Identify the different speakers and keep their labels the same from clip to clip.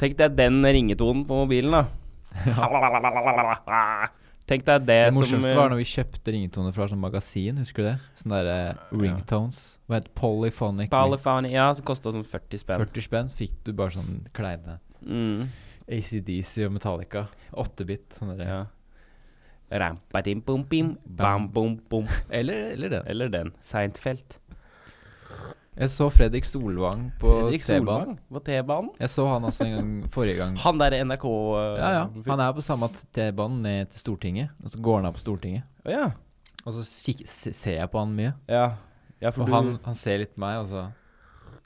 Speaker 1: Tenk deg den ringetonen på mobilen, da. Tenk deg det,
Speaker 2: Det
Speaker 1: som eh,
Speaker 2: morsomste var når vi kjøpte ringetoner fra sånn magasin, husker du det? Sånne der eh, ringtones. Hva het Polyphonic? ring-
Speaker 1: Polyphony, ja, som kosta sånn 40 spenn.
Speaker 2: 40 spenn så fikk du bare sånn kleine
Speaker 1: Mm,
Speaker 2: ACDC og Metallica. 8-bit. Sånne der. eh,
Speaker 1: ja. Rampatim-pum-pim, bam-bum-bum.
Speaker 2: Eller, eller den.
Speaker 1: Eller den. Seinfeld.
Speaker 2: Jeg så Fredrik Solvang på
Speaker 1: Fredrik
Speaker 2: T-banen.
Speaker 1: Solvang på T-banen.
Speaker 2: Jeg så han altså en gang forrige gang.
Speaker 1: Han der NRK... eh,
Speaker 2: Ja, ja.
Speaker 1: fyr.
Speaker 2: Han er på samme T-banen ned til Stortinget, og så går han av på Stortinget.
Speaker 1: Å, ja.
Speaker 2: Og så kik- se- ser jeg på han mye,
Speaker 1: ja. Ja, for
Speaker 2: og
Speaker 1: du...
Speaker 2: han, han ser litt på meg, og så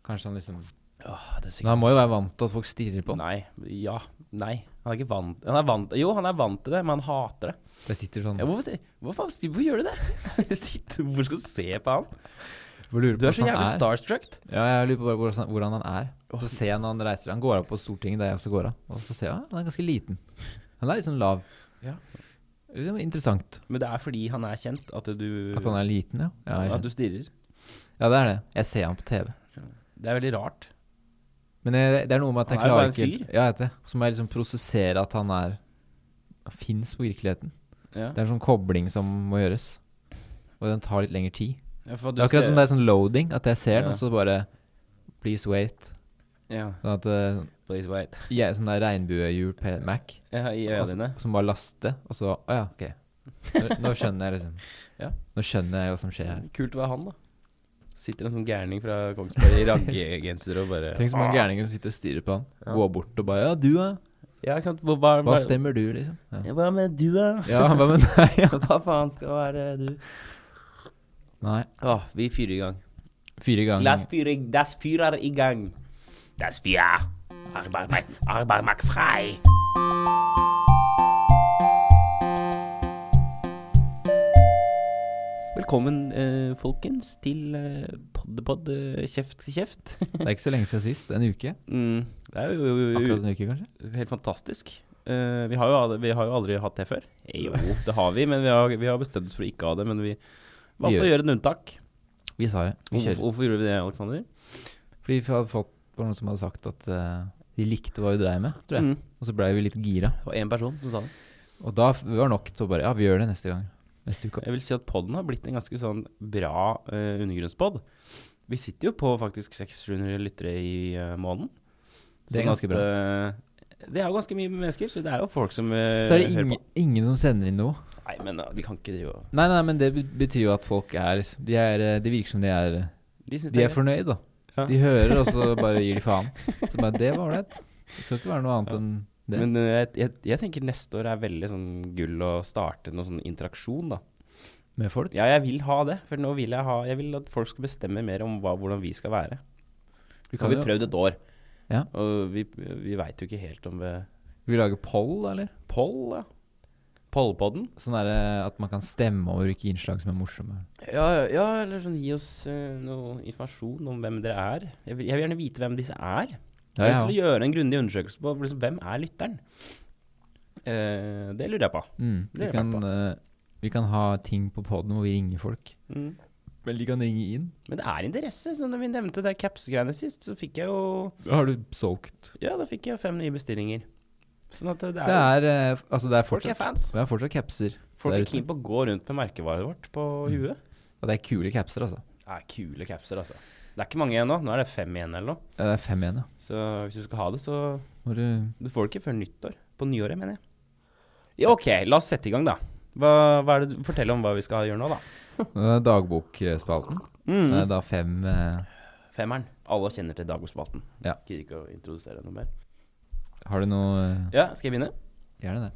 Speaker 2: Kanskje han liksom
Speaker 1: Åh, det er
Speaker 2: Men
Speaker 1: sikkert...
Speaker 2: han må jo være vant til at folk stirrer på han.
Speaker 1: Nei, ja, nei. Han er ikke vant... Han er vant... Jo, han er vant til det, men han hater det.
Speaker 2: Jeg sitter sånn
Speaker 1: Ja, hvorfor, se- hvorfor, faen- hvorfor gjør du det? Sitt, hvorfor skal du se på han?
Speaker 2: hvor lurer på
Speaker 1: Du er så
Speaker 2: hvordan han
Speaker 1: jævlig starstruck.
Speaker 2: Ja, jeg lurer på bare hvordan, hvordan han er. Og så ser jeg når han reiser Han går av på Stortinget, der jeg også går av. Og så ser jeg ah, han er ganske liten. Han er litt sånn lav.
Speaker 1: Ja.
Speaker 2: Liksom interessant
Speaker 1: Men det er fordi han er kjent at du...
Speaker 2: at han er liten, ja. Ja, jeg
Speaker 1: at du
Speaker 2: skjønner.
Speaker 1: stirrer.
Speaker 2: ja, det er det. Jeg ser han på TV.
Speaker 1: Det er veldig rart.
Speaker 2: Men jeg, det er noe med at jeg
Speaker 1: Han er jo
Speaker 2: klarer
Speaker 1: bare en
Speaker 2: ikke Ja, jeg vet det. Så må jeg liksom prosessere at han er Fins på virkeligheten.
Speaker 1: Ja.
Speaker 2: Det er en sånn kobling som må gjøres. Og den tar litt lengre tid.
Speaker 1: Ja, for at
Speaker 2: Det er akkurat
Speaker 1: ser-
Speaker 2: som det er sånn loading, at jeg ser
Speaker 1: Ja.
Speaker 2: den, og så bare Please wait.
Speaker 1: Ja,
Speaker 2: Sånn at eh,
Speaker 1: please wait.
Speaker 2: jeg, Sånn der regnbuehjul på Mac.
Speaker 1: Ja, I øynene dine.
Speaker 2: Som bare laste, og så Å ja, ok. Nå, nå skjønner jeg liksom
Speaker 1: Ja.
Speaker 2: Nå skjønner jeg hva som skjer her.
Speaker 1: Kult å være han, da. Sitter en sånn gærning fra Kongsberg i raggegenser og bare
Speaker 2: Tenk så mange gærninger som sitter og stirrer på han. Går bort og bare Ja, du, ja.
Speaker 1: Ah. Ja, ikke sant? Hva, hva,
Speaker 2: Hva
Speaker 1: hva,
Speaker 2: stemmer du, liksom? Ja,
Speaker 1: hva med du, da?
Speaker 2: ja hva med deg? Ja.
Speaker 1: Hva faen skal være du?
Speaker 2: Nei.
Speaker 1: Å, vi fyrer i gang.
Speaker 2: Fire ganger.
Speaker 1: Las fyre, das fyrer i gang. Das fyrer. Arbeid meg, arbeid meg frei. Velkommen, eh, folkens, til eh, Poddepod eh, kjeft til kjeft.
Speaker 2: Det er ikke så lenge siden sist. En uke.
Speaker 1: Mm, det er jo,
Speaker 2: Akkurat en uke, kanskje.
Speaker 1: helt fantastisk. Eh, vi, har jo, al- vi har jo aldri hatt det før. Eh, Jo, det har vi, men vi har, vi har bestemt oss for å ikke ha det. Men vi valgte
Speaker 2: gjør
Speaker 1: å gjøre et unntak.
Speaker 2: Vi sa det. Vi
Speaker 1: Hvorfor,
Speaker 2: kjører.
Speaker 1: hvorfor gjorde vi det, Aleksander?
Speaker 2: Fordi vi hadde fått det var noen som hadde sagt at eh, de likte hva vi dreiv med, tror jeg.
Speaker 1: Mm.
Speaker 2: Og så blei vi litt gira.
Speaker 1: Det var én person som sa det.
Speaker 2: Og da f- var det nok til å bare Ja, vi gjør det neste gang. Neste uke.
Speaker 1: Jeg vil si at podden har blitt en ganske sånn bra uh, undergrunnspod. Vi sitter jo på faktisk 600 lyttere i eh, måneden.
Speaker 2: Det er
Speaker 1: Sånn
Speaker 2: ganske
Speaker 1: at,
Speaker 2: bra.
Speaker 1: eh, det er jo ganske mye mennesker, så det er jo folk som eh,
Speaker 2: Så er det
Speaker 1: hører
Speaker 2: ingen, ingen som sender inn noe.
Speaker 1: på. Nei, men eh, vi kan ikke drive og
Speaker 2: Nei, nei, men det bet- betyr jo at folk er De, er, eh, det virker som de er
Speaker 1: De syns
Speaker 2: De
Speaker 1: det
Speaker 2: er fornøyd, da.
Speaker 1: Ja.
Speaker 2: De hører, og så bare gir de faen. Så bare Det var ålreit. Det skal ikke være noe annet enn det.
Speaker 1: Men eh, jeg, jeg, jeg tenker neste år er veldig sånn gull å starte noe sånn interaksjon, da.
Speaker 2: med folk.
Speaker 1: Ja, jeg vil ha det. For nå vil jeg ha Jeg vil at folk skal bestemme mer om hva, hvordan vi skal være.
Speaker 2: Vi
Speaker 1: Vi
Speaker 2: kan
Speaker 1: har vi
Speaker 2: jo
Speaker 1: prøvd et år,
Speaker 2: Ja.
Speaker 1: og vi, vi veit jo ikke helt om eh,
Speaker 2: Vi lager poll, da, eller?
Speaker 1: Poll, ja. Pollpodden?
Speaker 2: Sånn er det at man kan stemme over hvilke innslag som er morsomme.
Speaker 1: Ja, ja, eller sånn gi oss eh, noe informasjon om hvem dere er. Jeg vil, jeg vil gjerne vite hvem disse er. Jeg har
Speaker 2: Ja,
Speaker 1: lyst til
Speaker 2: ja.
Speaker 1: å gjøre en grundig undersøkelse på liksom, hvem er lytteren. Eh, det lurer jeg på.
Speaker 2: Mm.
Speaker 1: Det
Speaker 2: Vi,
Speaker 1: er
Speaker 2: kan, eh, vi kan ha ting på poden hvor vi ringer folk.
Speaker 1: Mm.
Speaker 2: Vel, de kan ringe inn.
Speaker 1: Men det er interesse. Så når vi nevnte det caps-greiene sist, så fikk jeg jo
Speaker 2: Har du solgt?
Speaker 1: Ja, da fikk jeg fem nye bestillinger. Sånn at det er,
Speaker 2: Det er eh, f- Altså, det er
Speaker 1: Folk er
Speaker 2: fortsatt
Speaker 1: fans.
Speaker 2: Vi har fortsatt capser.
Speaker 1: Folk
Speaker 2: der
Speaker 1: er Mm.
Speaker 2: ute.
Speaker 1: keen på å gå rundt med merkevaret vårt på huet.
Speaker 2: Og det er kule capser, altså.
Speaker 1: Det er kule capser, altså. Det er ikke mange igjen nå. Nå er det fem igjen eller noe.
Speaker 2: Ja, Det er fem igjen, ja. eh,
Speaker 1: Så hvis du skal ha det, så
Speaker 2: Må du
Speaker 1: Du får det ikke før nyttår. På nyåret, mener jeg. Ja, OK, la oss sette i gang, da. Hva, hva er det, du- fortell om hva vi skal gjøre nå, da.
Speaker 2: Det er Eh, dagbokspalten.
Speaker 1: Mm.
Speaker 2: Det er da fem eh,
Speaker 1: Femmeren. Alle kjenner til Dagordspalten.
Speaker 2: Ja.
Speaker 1: Gidder ikke å introdusere noe mer.
Speaker 2: Har du noe eh,
Speaker 1: Ja, skal jeg begynne?
Speaker 2: Gjerne det.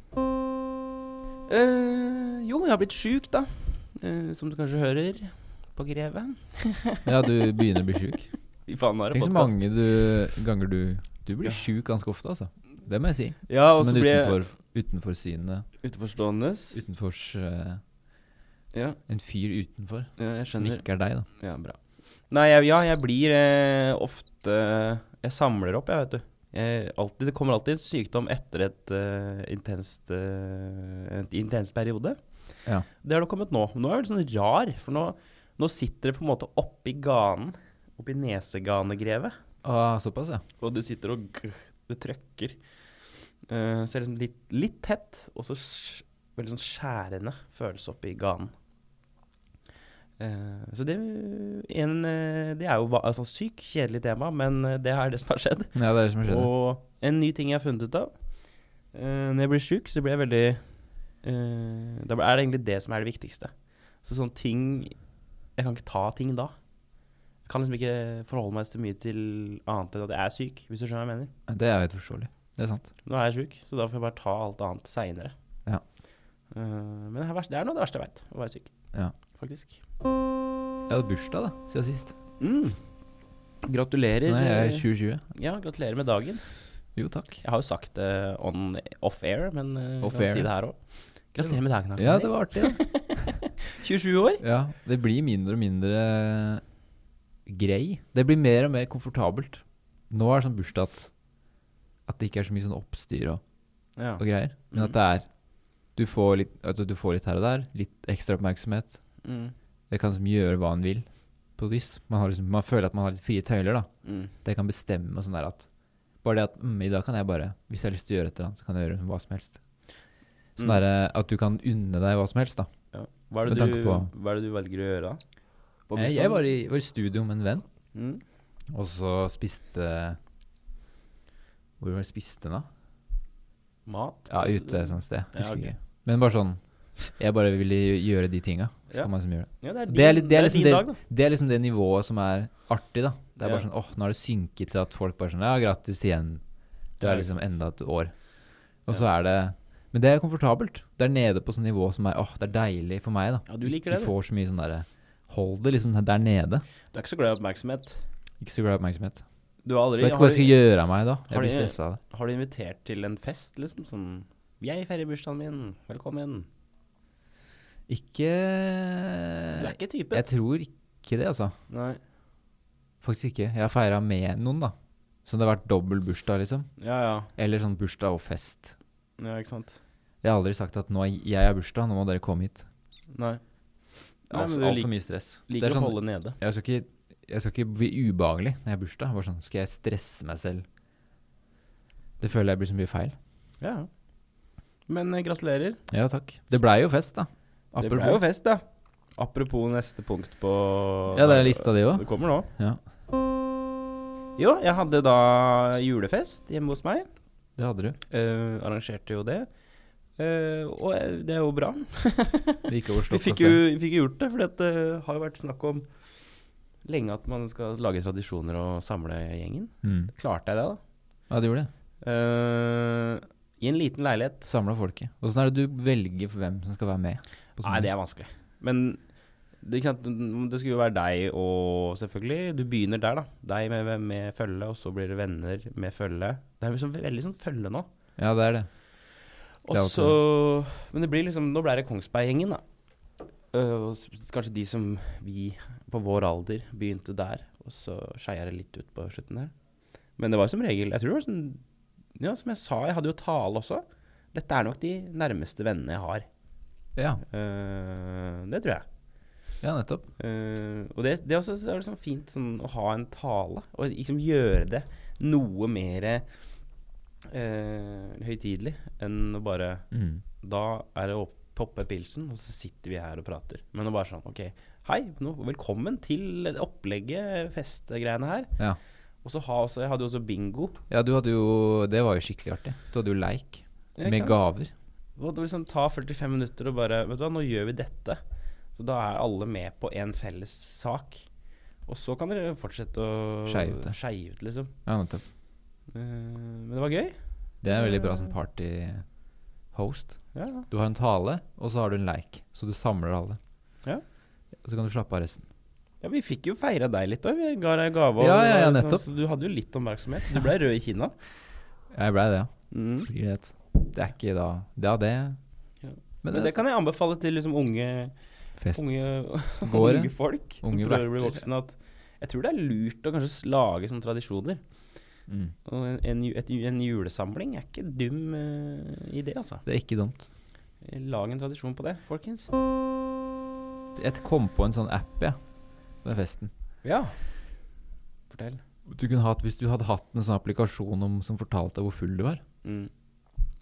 Speaker 1: Eh, jo, jeg har blitt sjuk, da. Eh, som du kanskje hører. På Greven.
Speaker 2: Ja, du begynner å bli sjuk.
Speaker 1: Fy faen, nå er det
Speaker 2: Tenk så
Speaker 1: podcast.
Speaker 2: mange du, ganger du Du blir sjuk ganske ofte, altså. Det må jeg si.
Speaker 1: Ja, og
Speaker 2: Som
Speaker 1: så
Speaker 2: en
Speaker 1: blir jeg
Speaker 2: utenfor, utenforsynende
Speaker 1: utenforstående.
Speaker 2: Utenfors eh,
Speaker 1: Ja,
Speaker 2: En fyr utenfor.
Speaker 1: ja, jeg
Speaker 2: Som
Speaker 1: skjønner.
Speaker 2: ikke er deg, da.
Speaker 1: Ja, bra. Nei, jeg, ja, jeg blir eh, ofte Jeg samler opp, jeg, vet du. Jeg, alltid, det kommer alltid en sykdom etter et eh, intenst eh, en intens periode.
Speaker 2: Ja.
Speaker 1: Det har det kommet nå. Nå er jeg veldig sånn rar, for nå, Nå sitter det på en måte oppi ganen, oppi nesegranegrevet,
Speaker 2: Ah, såpass, ja.
Speaker 1: og det sitter og grr, det trøkker. Eh, så det er liksom litt, litt tett, og så sj- veldig sånn skjærende følelse oppi ganen. Eh, så det, en, eh, det er jo va- altså, sykt kjedelig tema, men eh, det er det som har skjedd.
Speaker 2: Ja, det er det som skjedde.
Speaker 1: Og en ny ting jeg har funnet ut av. eh, når jeg blir sjuk, så blir jeg veldig eh, Da er det egentlig det som er det viktigste. Så sånne ting Jeg kan ikke ta ting da. Jeg kan liksom ikke forholde meg så mye til annet enn at jeg er syk, hvis du skjønner hva jeg mener.
Speaker 2: Det er jo helt forståelig. Det er sant.
Speaker 1: Nå er jeg sjuk, så da får jeg bare ta alt annet seinere. Eh,
Speaker 2: Ja.
Speaker 1: men det er, verst- det er noe av det verste jeg veit, å være syk.
Speaker 2: Ja.
Speaker 1: Faktisk.
Speaker 2: Jeg hadde bursdag, da, siden sist.
Speaker 1: Mm. Gratulerer.
Speaker 2: Så nå Sånn er jeg 2020.
Speaker 1: ja, gratulerer med dagen.
Speaker 2: Jo, takk.
Speaker 1: Jeg har jo sagt det on off air, men uh,
Speaker 2: Off
Speaker 1: kan
Speaker 2: air.
Speaker 1: si det her òg. Gratulerer med dagen, Arsen.
Speaker 2: Ja, det var artig, da.
Speaker 1: 27 år.
Speaker 2: Ja, det blir mindre og mindre grei. Det blir mer og mer komfortabelt. Nå er det sånn bursdag at, at det ikke er så mye sånn oppstyr og,
Speaker 1: Ja.
Speaker 2: og greier. Men at det er du får, litt, altså, du får litt her og der, litt ekstra oppmerksomhet.
Speaker 1: Mm.
Speaker 2: Det kan liksom gjøre hva en vil, på et vis. Man, har liksom, man føler at man har litt frie tøyler, da.
Speaker 1: Mm.
Speaker 2: Det kan bestemme og sånn der at Bare det at mm, i dag kan jeg bare Hvis jeg har lyst til å gjøre et eller annet, så kan jeg gjøre hva som helst. Sånn
Speaker 1: Mm.
Speaker 2: der, eh, at du kan unne deg hva som helst, da.
Speaker 1: Ja. Hva, er
Speaker 2: Med
Speaker 1: det du,
Speaker 2: tanke på- Eh,
Speaker 1: hva er det du velger å gjøre da? På
Speaker 2: Jeg,
Speaker 1: bursdagen?
Speaker 2: jeg var, i, var i studio med en venn.
Speaker 1: mm.
Speaker 2: Og så spiste Hvor var det spiste den da?
Speaker 1: Mat?
Speaker 2: Ja, ute et sånt sted.
Speaker 1: Ja,
Speaker 2: Husker
Speaker 1: ok.
Speaker 2: ikke. Men bare sånn Jeg bare ville gjø- gjøre de tinga. Så
Speaker 1: Ja.
Speaker 2: kan man liksom gjøre det.
Speaker 1: Ja, det er
Speaker 2: Så
Speaker 1: din,
Speaker 2: Det er, litt, det, er liksom
Speaker 1: din
Speaker 2: det,
Speaker 1: dag, da.
Speaker 2: det er liksom det nivået som er artig, da. Det er
Speaker 1: Ja.
Speaker 2: bare sånn åh, nå har det synket til at folk bare sånn Ja, grattis igjen.
Speaker 1: Ja,
Speaker 2: Du er
Speaker 1: ikke
Speaker 2: liksom
Speaker 1: sant.
Speaker 2: enda et år. Og så er det Men det er komfortabelt. Det er nede på sånn nivå som er åh, det er deilig for meg, da.
Speaker 1: Ja, du liker
Speaker 2: ikke
Speaker 1: det, du.
Speaker 2: får så mye sånn derre Hold det liksom der nede.
Speaker 1: Du er ikke så glad i oppmerksomhet.
Speaker 2: Ikke så glad i oppmerksomhet.
Speaker 1: Du har, aldri,
Speaker 2: Jeg vet ikke hva
Speaker 1: har,
Speaker 2: jeg skal
Speaker 1: du,
Speaker 2: gjøre av meg da.
Speaker 1: har
Speaker 2: Jeg blir
Speaker 1: du-
Speaker 2: stressa av det.
Speaker 1: har du invitert til en fest, liksom? Sånn Jeg feirer bursdagen min, velkommen.
Speaker 2: Ikke
Speaker 1: Du er ikke typen.
Speaker 2: Eh, Jeg tror ikke det, altså.
Speaker 1: Nei.
Speaker 2: Faktisk ikke. Jeg har feira med noen, da. Så det har vært dobbel bursdag, liksom.
Speaker 1: Ja, ja.
Speaker 2: Eller sånn bursdag og fest.
Speaker 1: Ja, ikke sant.
Speaker 2: Jeg har aldri sagt at nå er jeg har bursdag, nå må dere komme hit.
Speaker 1: Nei. Nei, men
Speaker 2: Altfor
Speaker 1: du
Speaker 2: alt
Speaker 1: lik,
Speaker 2: for mye stress. Det
Speaker 1: liker
Speaker 2: er sånn,
Speaker 1: å holde nede.
Speaker 2: jeg, skal ikke, jeg skal ikke bli ubehagelig når jeg har bursdag. Bare sånn, skal jeg stresse meg selv? Det føler jeg blir så mye feil.
Speaker 1: Ja. Men eh, gratulerer.
Speaker 2: Ja, takk. Det blei jo fest, da.
Speaker 1: Det ble jo fest, da. Apropos neste punkt på
Speaker 2: Ja, det er lista di òg.
Speaker 1: Det kommer nå.
Speaker 2: Ja.
Speaker 1: Jo, jeg hadde da julefest hjemme hos meg.
Speaker 2: Det hadde du.
Speaker 1: Eh, arrangerte jo det. Eh, og eh, det er jo bra.
Speaker 2: Det gikk over
Speaker 1: Vi
Speaker 2: stokk og
Speaker 1: fikk jo
Speaker 2: stein.
Speaker 1: fikk jo gjort det, for det har jo vært snakk om lenge at man skal lage tradisjoner og samle gjengen.
Speaker 2: Mm.
Speaker 1: Klarte jeg det, da.
Speaker 2: Ja, det gjorde det.
Speaker 1: Eh, I en liten leilighet.
Speaker 2: Samla folket. Åssen er det du velger for hvem som skal være med? på sånne-
Speaker 1: Nei, det er vanskelig. Men det, ikke sant? det skulle jo være deg og selvfølgelig Du begynner der, da. Deg med, med følge, og så blir det venner med følge. Det er liksom veldig sånn følge nå.
Speaker 2: Ja, det er det. Det er
Speaker 1: Og så Men det blir liksom Nå ble det Kongsberg-gjengen, da. Øh, og s- kanskje de som vi på vår alder begynte der, og så skeia det litt ut på slutten der. Men det var jo som regel Jeg tror det var sånn Ja, som jeg sa, jeg hadde jo tale også. Dette er nok de nærmeste vennene jeg har.
Speaker 2: Ja,
Speaker 1: Øh, det tror jeg.
Speaker 2: ja nettopp.
Speaker 1: Eh, og det, det er også så er det sånn fint sånn, å ha en tale, og liksom gjøre det noe mer eh, høytidelig enn å bare
Speaker 2: Mm.
Speaker 1: Da er det å poppe pilsen, og så sitter vi her og prater. Men å bare sånn OK, hei, nå, velkommen til opplegget, festegreiene her.
Speaker 2: Ja.
Speaker 1: Og så ha også, jeg hadde jo også bingo.
Speaker 2: ja, du hadde jo Det var jo skikkelig artig. Du hadde jo leik
Speaker 1: Ja, ikke
Speaker 2: med
Speaker 1: sant?
Speaker 2: gaver.
Speaker 1: Og det var liksom Ta 45 minutter og bare Vet du hva, nå gjør vi dette. Så da er alle med på en felles sak. Og så kan dere fortsette å
Speaker 2: Skeie ut det.
Speaker 1: skeie ut, liksom.
Speaker 2: Ja, nettopp.
Speaker 1: Eh, men det var gøy.
Speaker 2: Det er veldig bra som partyhost.
Speaker 1: Ja, ja.
Speaker 2: Du har en tale, og så har du en leik. Så du samler alle.
Speaker 1: Ja.
Speaker 2: Og så kan du slappe av resten.
Speaker 1: ja Vi fikk jo feira deg litt òg. Vi ga deg gave. og
Speaker 2: Ja,
Speaker 1: det
Speaker 2: ja, ja,
Speaker 1: var
Speaker 2: nettopp.
Speaker 1: Sånn, så du hadde jo litt oppmerksomhet. Du ble rød i kinna.
Speaker 2: Jeg blei det, ja.
Speaker 1: Mm.
Speaker 2: Blir det et- Det er ikke da Ja, det
Speaker 1: Ja.
Speaker 2: Men
Speaker 1: Men det kan jeg anbefale til liksom unge,
Speaker 2: fest.
Speaker 1: unge,
Speaker 2: Gårde.
Speaker 1: unge folk som
Speaker 2: Unge
Speaker 1: prøver å bli
Speaker 2: verter.
Speaker 1: voksne. At jeg tror det er lurt å kanskje s- lage sånne tradisjoner.
Speaker 2: Mm.
Speaker 1: Og en, en, ju- et, ju- en julesamling er ikke dum eh, idé, altså.
Speaker 2: Det er ikke dumt.
Speaker 1: Lag en tradisjon på det, folkens.
Speaker 2: Jeg kom på en sånn app, jeg. den festen.
Speaker 1: Ja. Fortell.
Speaker 2: Du kunne hatt, hvis du hadde hatt en sånn applikasjon om, som fortalte deg hvor full du var
Speaker 1: Mm.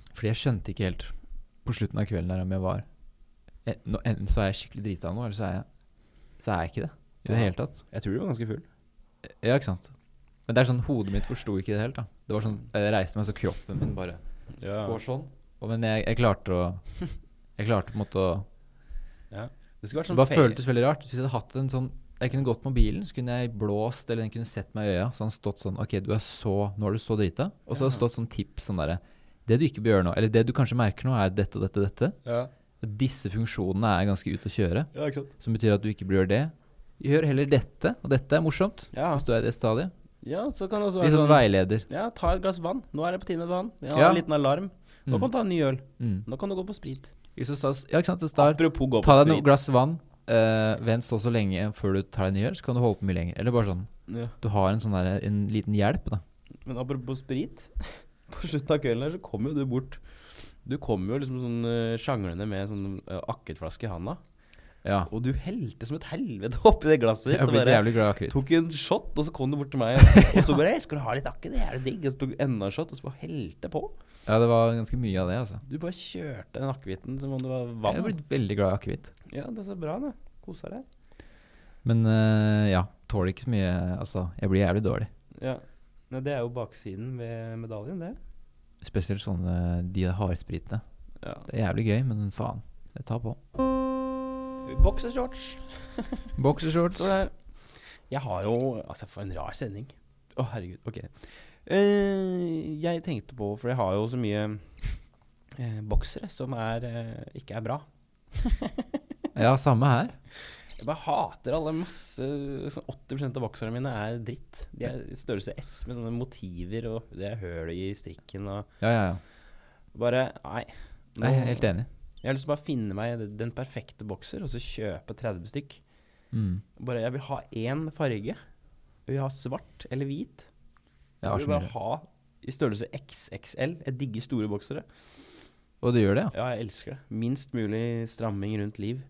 Speaker 2: Fordi jeg skjønte ikke helt på slutten av kvelden her om jeg var en- nå- Enten så er jeg skikkelig drita nå, eller så er jeg, så er jeg ikke det. I det
Speaker 1: Ja.
Speaker 2: hele tatt.
Speaker 1: Jeg tror du var ganske full.
Speaker 2: Ja, ikke sant. Men det er sånn, hodet mitt forsto ikke det helt. da. Det var sånn, Jeg reiste meg, så kroppen min bare
Speaker 1: Ja.
Speaker 2: går sånn. Og, men jeg, jeg klarte å Jeg klarte på en måte å
Speaker 1: Det skulle vært
Speaker 2: Det
Speaker 1: sånn
Speaker 2: bare
Speaker 1: ferie-
Speaker 2: føltes veldig rart. Hvis jeg hadde hatt en sånn Jeg kunne gått med bilen, så kunne jeg blåst, eller den kunne sett meg i øya. Så hadde den stått sånn OK, du er så Nå er du så drita. Og så hadde
Speaker 1: Ja.
Speaker 2: det stått sånn tips sånn derre Det du ikke bør gjøre nå, eller det du kanskje merker nå, er dette og dette og dette.
Speaker 1: Ja.
Speaker 2: Disse funksjonene er ganske ute å kjøre,
Speaker 1: ja, ikke sant.
Speaker 2: som betyr at du ikke bør gjøre det. Gjør heller dette, og dette er morsomt.
Speaker 1: Ja.
Speaker 2: Hvis du er i det stadiet.
Speaker 1: ja, så kan det også
Speaker 2: Litt
Speaker 1: være
Speaker 2: sånn
Speaker 1: sånn
Speaker 2: veileder.
Speaker 1: Ja, ta et glass vann. Nå er det på tide med vann. Ja,
Speaker 2: Ja.
Speaker 1: En liten alarm. Nå
Speaker 2: Mm.
Speaker 1: kan du ta en ny øl.
Speaker 2: Mm.
Speaker 1: Nå kan du gå på sprit.
Speaker 2: Hvis du stas- ja, ikke sant. Det står
Speaker 1: Apropos gå på
Speaker 2: Ta deg
Speaker 1: sprit.
Speaker 2: noe glass vann, eh, vent så og så lenge før du tar deg en ny øl, så kan du holde på mye lenger. Eller bare sånn
Speaker 1: Ja.
Speaker 2: Du har en sånn der, en liten hjelp, da.
Speaker 1: Men apropos sprit. På slutten av kvelden her så kom jo du bort. Du kom jo liksom sånn eh, sjanglende med en sånn eh, akettflaske i handa.
Speaker 2: Ja.
Speaker 1: Og du helte som et helvete oppi det glasset ditt.
Speaker 2: Jeg
Speaker 1: og
Speaker 2: blir
Speaker 1: bare
Speaker 2: jævlig glad i akevitt.
Speaker 1: Tok en shot, og så kom du bort til meg. Og så bare «Hei, 'Skal du ha litt akke? Det er jo digg.' Og så tok du enda en shot, og så bare helte på.
Speaker 2: Ja, det var ganske mye av det, altså.
Speaker 1: Du bare kjørte den akevitten som om det var
Speaker 2: Jeg
Speaker 1: vann.
Speaker 2: har blitt veldig glad i akevitt.
Speaker 1: Ja, det er så bra, det. Kosa deg.
Speaker 2: Men eh, ja, tåler ikke så mye Altså, jeg blir jævlig dårlig.
Speaker 1: Ja. Nei, det er jo baksiden ved medaljen, det.
Speaker 2: Spesielt sånne de der hardspritene.
Speaker 1: Ja.
Speaker 2: Det er jævlig gøy, men faen. Jeg tar på.
Speaker 1: Boksershorts
Speaker 2: Boksershorts.
Speaker 1: står det her. Jeg har jo Altså, for en rar sending. Å, herregud. Ok. Eh, jeg tenkte på, for jeg har jo så mye eh, boksere som er, eh, ikke er bra.
Speaker 2: Ja, samme her.
Speaker 1: Jeg bare hater alle masse sånn 80 av bokserne mine er dritt. De er i størrelse S med sånne motiver, og det er høl i strikken og
Speaker 2: Ja, ja, ja.
Speaker 1: Bare Nei. nå-
Speaker 2: Jeg er helt enig.
Speaker 1: Jeg har lyst til å bare finne meg den perfekte bokser, og så kjøpe 30 stykk.
Speaker 2: Mm.
Speaker 1: Bare jeg vil ha én farge. Jeg vil ha svart eller hvit.
Speaker 2: Jeg har
Speaker 1: jeg
Speaker 2: så
Speaker 1: vil bare
Speaker 2: mye.
Speaker 1: ha i størrelse XXL. Jeg digger store boksere.
Speaker 2: Og du gjør det, ja?
Speaker 1: Ja, jeg elsker det. Minst mulig stramming rundt liv.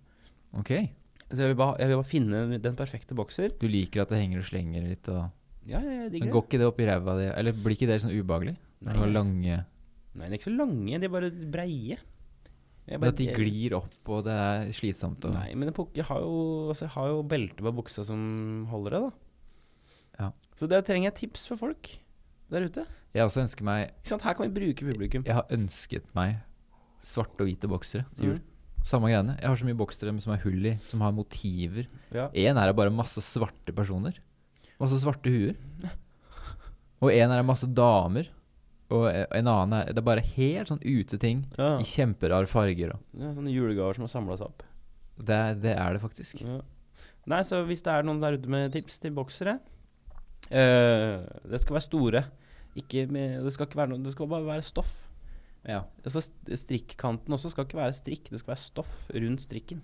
Speaker 2: Ok.
Speaker 1: Så jeg vil bare, jeg vil bare finne den perfekte bokser.
Speaker 2: Du liker at det henger og slenger litt og
Speaker 1: Ja, ja, jeg
Speaker 2: Men
Speaker 1: digger
Speaker 2: Går
Speaker 1: det.
Speaker 2: ikke det opp i ræva di? Eller blir ikke det sånn ubehagelig? Når du har
Speaker 1: Nei,
Speaker 2: lange
Speaker 1: nei, de er ikke så lange. De er bare breie. Jeg
Speaker 2: Men At de glir opp, og det er slitsomt og
Speaker 1: Nei, men jeg, pok- jeg, har jo, altså, jeg har jo belte på buksa som holder det, da.
Speaker 2: Ja.
Speaker 1: Så der trenger jeg tips for folk der ute.
Speaker 2: Jeg også ønsker meg
Speaker 1: Ikke sant? Her kan vi bruke publikum.
Speaker 2: Jeg har ønsket meg svarte og hvite boksere til jul.
Speaker 1: Mm.
Speaker 2: Samme greiene. Jeg har så mye boksere som er hull i, som har motiver.
Speaker 1: Ja.
Speaker 2: Én er det bare masse svarte personer. Masse svarte huer. Og én er det masse damer. Og eh, en annen er Det er bare helt sånn ute ting
Speaker 1: Ja.
Speaker 2: i kjemperare farger. og-
Speaker 1: Ja, sånne julegaver som har samla seg opp.
Speaker 2: Det, er- det er det faktisk.
Speaker 1: Ja. Nei, så hvis det er noen der ute med tips til boksere eh, Det skal være store. Ikke med, det, skal ikke være noe, det skal bare være stoff.
Speaker 2: Ja.
Speaker 1: Altså st- Strikkanten også skal ikke være strikk, det skal være stoff rundt strikken.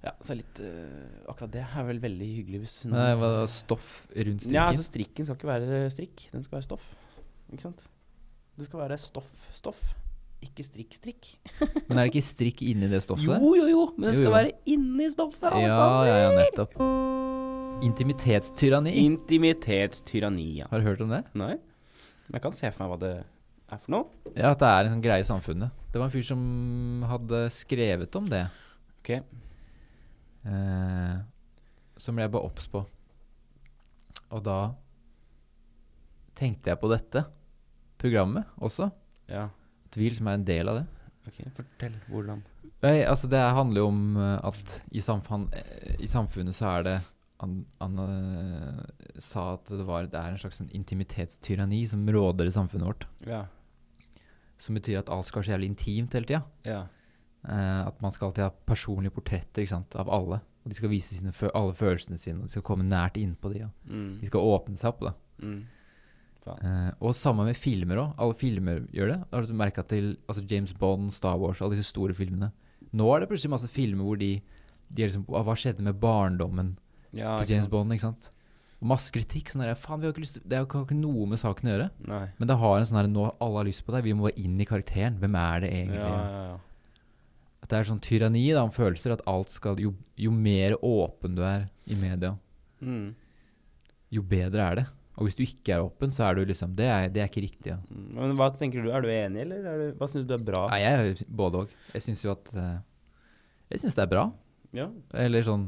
Speaker 1: Ja, så litt eh, Akkurat det er vel veldig hyggelig hvis noen-
Speaker 2: Men det var stoff rundt strikken.
Speaker 1: Ja, altså strikken skal ikke være strikk, den skal være stoff. Ikke sant? Det skal være stoff, stoff. Ikke strikk, strikk.
Speaker 2: Men er det ikke strikk inni det stoffet
Speaker 1: Jo,
Speaker 2: der?
Speaker 1: jo, jo, men det
Speaker 2: Jo,
Speaker 1: skal
Speaker 2: jo.
Speaker 1: være inni stoffet.
Speaker 2: Ja,
Speaker 1: Alexander.
Speaker 2: ja, ja, nettopp. Intimitetstyranni.
Speaker 1: Intimitetstyranni, ja.
Speaker 2: Har du hørt om det?
Speaker 1: Nei? Men jeg kan se for meg hva det er for noe.
Speaker 2: Ja, at det er en sånn greie i samfunnet. Det var en fyr som hadde skrevet om det.
Speaker 1: Ok.
Speaker 2: Eh, som ble jeg bare obs på. Og da tenkte jeg på dette programmet også.
Speaker 1: Ja,
Speaker 2: Tvil som er en del av det.
Speaker 1: ok. Fortell hvordan.
Speaker 2: Nei, altså det handler jo om eh, at i, samfan, eh, i samfunnet så er det han, han eh, sa at det, var, det er en slags sånn intimitetstyranni som råder i samfunnet vårt.
Speaker 1: Ja,
Speaker 2: Som betyr at alt skal være så jævlig intimt hele tida.
Speaker 1: ja.
Speaker 2: Eh, at man skal alltid ha personlige portretter ikke sant, av alle. Og de skal vise sine, fø- alle følelsene sine, og de skal komme nært innpå de. Og
Speaker 1: Mm.
Speaker 2: de skal åpne seg opp. da.
Speaker 1: Mm. Faen.
Speaker 2: Eh, og samme med filmer òg. Alle filmer gjør det. Har du merka til altså James Bond, Star Wars, alle disse store filmene. Nå er det plutselig masse filmer hvor de, de er liksom «Ah, Hva skjedde med barndommen
Speaker 1: Ja,
Speaker 2: til
Speaker 1: ikke
Speaker 2: James
Speaker 1: sant?
Speaker 2: Bond? ikke sant? Og masse kritikk. sånn der, Faen, vi har ikke lyst til Det har ikke har ikke noe med saken å gjøre.
Speaker 1: Nei.
Speaker 2: Men det har en sånn her Nå alle har lyst på deg. Vi må inn i karakteren. Hvem er det
Speaker 1: Ja,
Speaker 2: egentlig?
Speaker 1: ja, ja.
Speaker 2: At det er sånn tyranni da, om følelser, at alt skal jo, jo mer åpen du er i media,
Speaker 1: Mm.
Speaker 2: jo bedre er det. Og hvis du ikke er åpen, så er du liksom Det er, det er ikke riktig. Ja.
Speaker 1: Mm, Men hva tenker du, er du enig, eller er du, hva syns du er bra?
Speaker 2: Nei, jeg er både òg. Jeg syns jo at eh, Jeg syns det er bra.
Speaker 1: Ja.
Speaker 2: Eller sånn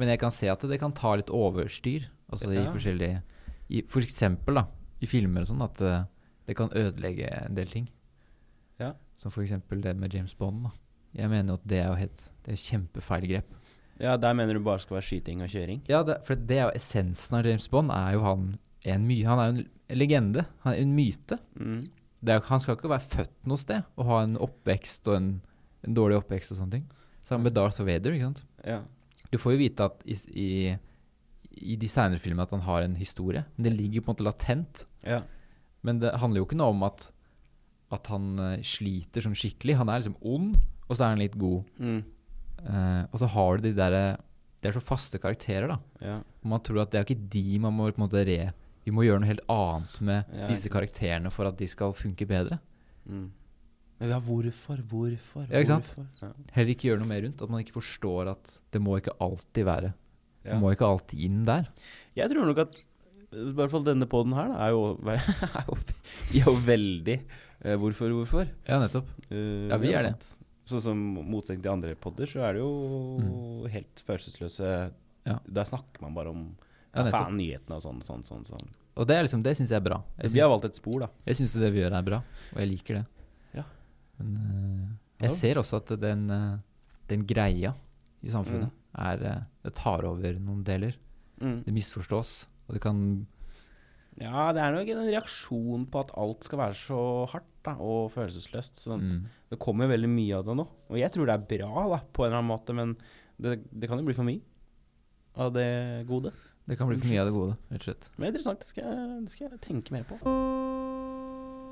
Speaker 2: Men jeg kan se at det kan ta litt overstyr. Altså i
Speaker 1: Ja.
Speaker 2: forskjellige i, For eksempel da, i filmer og sånn at eh, det kan ødelegge en del ting.
Speaker 1: Ja.
Speaker 2: Som for eksempel det med James Bond. da. Jeg mener jo at det er jo helt Det er kjempefeil grep.
Speaker 1: ja, der mener du bare skal være skyting og kjøring?
Speaker 2: Ja, det, for det er jo essensen av James Bond. Er jo han en my, Han er jo en legende. Han er en myte.
Speaker 1: Mm.
Speaker 2: det er, han skal ikke være født noe sted og ha en oppvekst og en, en dårlig oppvekst og sånne ting. Sammen med Darth Vader, ikke sant.
Speaker 1: Ja.
Speaker 2: Du får jo vite at i, s- i, i de senere filmene at han har en historie. Men det ligger på en måte latent.
Speaker 1: ja.
Speaker 2: Men det handler jo ikke noe om at, at han eh, sliter sånn skikkelig. Han er liksom ond, og så er han litt god.
Speaker 1: Mm.
Speaker 2: Eh, og så har du de der eh, Det er så faste karakterer, da.
Speaker 1: ja.
Speaker 2: Og man tror at det er ikke de man må på en måte re... Vi må gjøre noe helt annet med
Speaker 1: Ja,
Speaker 2: disse
Speaker 1: ikke
Speaker 2: karakterene for at de skal funke bedre.
Speaker 1: Mm. Men ja, hvorfor, hvorfor,
Speaker 2: Ja, ikke sant?
Speaker 1: hvorfor? Ja.
Speaker 2: heller ikke gjøre noe mer rundt. At man ikke forstår at det må ikke alltid være.
Speaker 1: Ja.
Speaker 2: Man må ikke alltid inn der.
Speaker 1: Jeg tror nok at i hvert fall denne poden her da, er jo, er jo, er jo veldig eh, hvorfor, hvorfor.
Speaker 2: Ja, nettopp.
Speaker 1: Eh,
Speaker 2: Ja, vi
Speaker 1: det
Speaker 2: er
Speaker 1: sant. Sånn som motsetning til andre podder, så er det jo helt følelsesløse
Speaker 2: Mm. Ja.
Speaker 1: Der snakker man bare om
Speaker 2: Ja,
Speaker 1: ja,
Speaker 2: nettopp.
Speaker 1: faen nyhetene og sånn, sånn, sånn. sånn.
Speaker 2: Og det, er liksom, det syns jeg er bra. Jeg
Speaker 1: Vi har
Speaker 2: syns-
Speaker 1: valgt et spor, da.
Speaker 2: Jeg syns det vi gjør er bra, og jeg liker det.
Speaker 1: Ja.
Speaker 2: Men eh, jeg
Speaker 1: Ja.
Speaker 2: ser også at den, eh, den greia i
Speaker 1: Mm.
Speaker 2: samfunnet er eh, Det tar over noen deler. Det misforstås, og det kan
Speaker 1: Ja, det er nok en reaksjon på at alt skal være så hardt da, og følelsesløst. Sånn at
Speaker 2: mm.
Speaker 1: Det kommer veldig mye av det nå. Og jeg tror det er bra da, på en eller annen måte, men det, det kan jo bli for mye av det gode.
Speaker 2: Det kan bli
Speaker 1: Oh,
Speaker 2: for mye av det gode, rett og slett.
Speaker 1: Men interessant. Det skal, jeg- det skal jeg tenke mer på.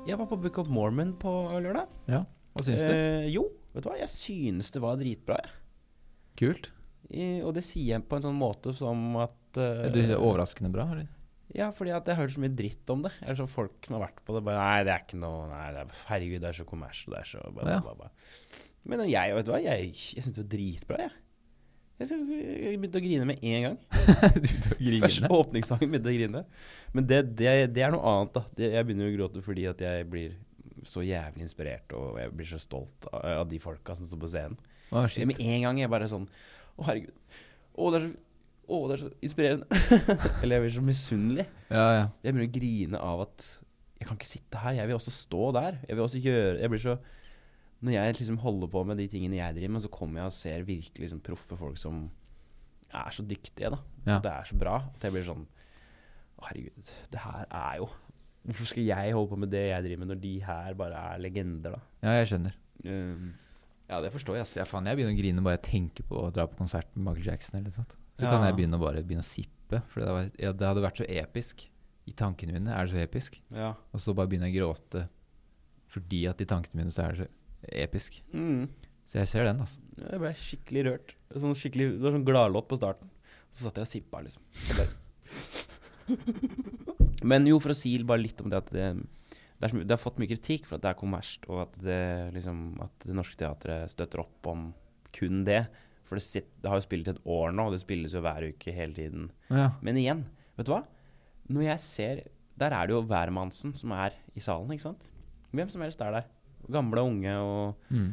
Speaker 1: Jeg var på Book of Mormon på lørdag.
Speaker 2: Ja. Hva syns du?
Speaker 1: Eh, jo, vet du hva? Jeg synes det var dritbra. jeg.
Speaker 2: Kult?
Speaker 1: I, og det sier jeg på en sånn måte som at eh,
Speaker 2: Er du overraskende bra, eller?
Speaker 1: Ja, fordi at jeg hører så mye dritt om det. Eller så folk som har vært på det, bare Nei, det er ikke noe Nei, det er, herregud, det er så kommers, og det er så bla, bla,
Speaker 2: Ja.
Speaker 1: bla, bla. Men jeg, vet du hva, jeg, jeg syns det var dritbra, jeg. Jeg, synes- jeg begynte å grine med en gang. Første åpningssangen begynte jeg å grine. Men det, det, det er noe annet, da. Det, jeg begynner å gråte fordi at jeg blir så jævlig inspirert, og jeg blir så stolt av, av de folka som står på scenen.
Speaker 2: Å, shit.
Speaker 1: Med en gang er jeg bare sånn Å, herregud. Å, det er så, å, det er så inspirerende. Eller jeg blir så misunnelig.
Speaker 2: Ja, ja.
Speaker 1: Jeg begynner å grine av at jeg kan ikke sitte her, jeg vil også stå der. Jeg vil også gjøre Jeg blir så Når jeg liksom holder på med de tingene jeg driver med, så kommer jeg og ser virkelig liksom proffe folk som er så dyktige, da.
Speaker 2: Ja.
Speaker 1: At det er så bra. At jeg blir sånn «Å, Herregud, det her er jo Hvorfor skal jeg holde på med det jeg driver med, når de her bare er legender, da?
Speaker 2: ja, jeg skjønner.
Speaker 1: Um,
Speaker 2: Ja, det forstår jeg. ass. Jeg, faen, jeg begynner å grine bare jeg tenker på å dra på konsert med Michael Jackson. eller noe sånt. Så
Speaker 1: Ja.
Speaker 2: kan jeg begynne å bare begynne å sippe. For det, var, ja, det hadde vært så episk. I tankene mine er det så episk.
Speaker 1: ja.
Speaker 2: Og så bare begynner jeg å gråte fordi at i tankene mine så er det så episk.
Speaker 1: Mm.
Speaker 2: Så jeg ser den, altså.
Speaker 1: Ja, Jeg ble skikkelig rørt. Sånn skikkelig, det var sånn gladlåt på starten. Så satt jeg og sippa, liksom. Jeg bare- Men jo, for å si bare litt om det at det, det, er så, mye- det har fått mye kritikk for at det er kommersielt, og at det, liksom, at det norske teatret støtter opp om kun det. For det, sitt, det har jo spilt et år nå, og det spilles jo hver uke hele tiden.
Speaker 2: Ja.
Speaker 1: Men igjen, vet du hva? Når jeg ser Der er det jo hvermannsen som er i salen, ikke sant? Hvem som helst er der. Gamle og unge og
Speaker 2: Mm.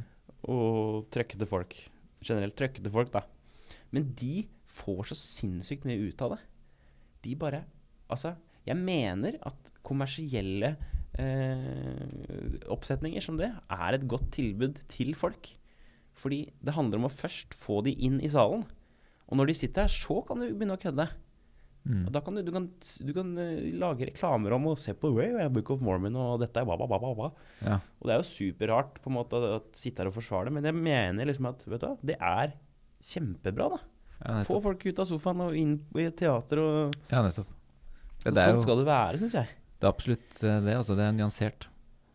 Speaker 1: og trøkkete folk. Generelt trøkkete folk, da. Men de får så sinnssykt mye ut av det. De bare Altså, jeg mener at kommersielle eh, oppsetninger som det er et godt tilbud til folk. Fordi det handler om å først få de inn i salen. Og når de sitter her, så kan du begynne å kødde.
Speaker 2: Mm.
Speaker 1: Og da kan du, du, kan, du kan eh, lage reklamer om å se på «Wow, Book of Mormon og dette er hva, hva, hva, hva, hva.
Speaker 2: ja.
Speaker 1: Og det er jo superrart på en måte å sitte her og forsvare det, men jeg mener liksom at vet du, hva, det er kjempebra. da.
Speaker 2: Ja,
Speaker 1: Få
Speaker 2: nettopp.
Speaker 1: folk ut av sofaen og inn i et teater. og,
Speaker 2: Ja, nettopp. Ja,
Speaker 1: og
Speaker 2: det er
Speaker 1: Sånn
Speaker 2: jo
Speaker 1: skal det være, syns jeg.
Speaker 2: det er absolutt eh, det. altså. Det er nyansert.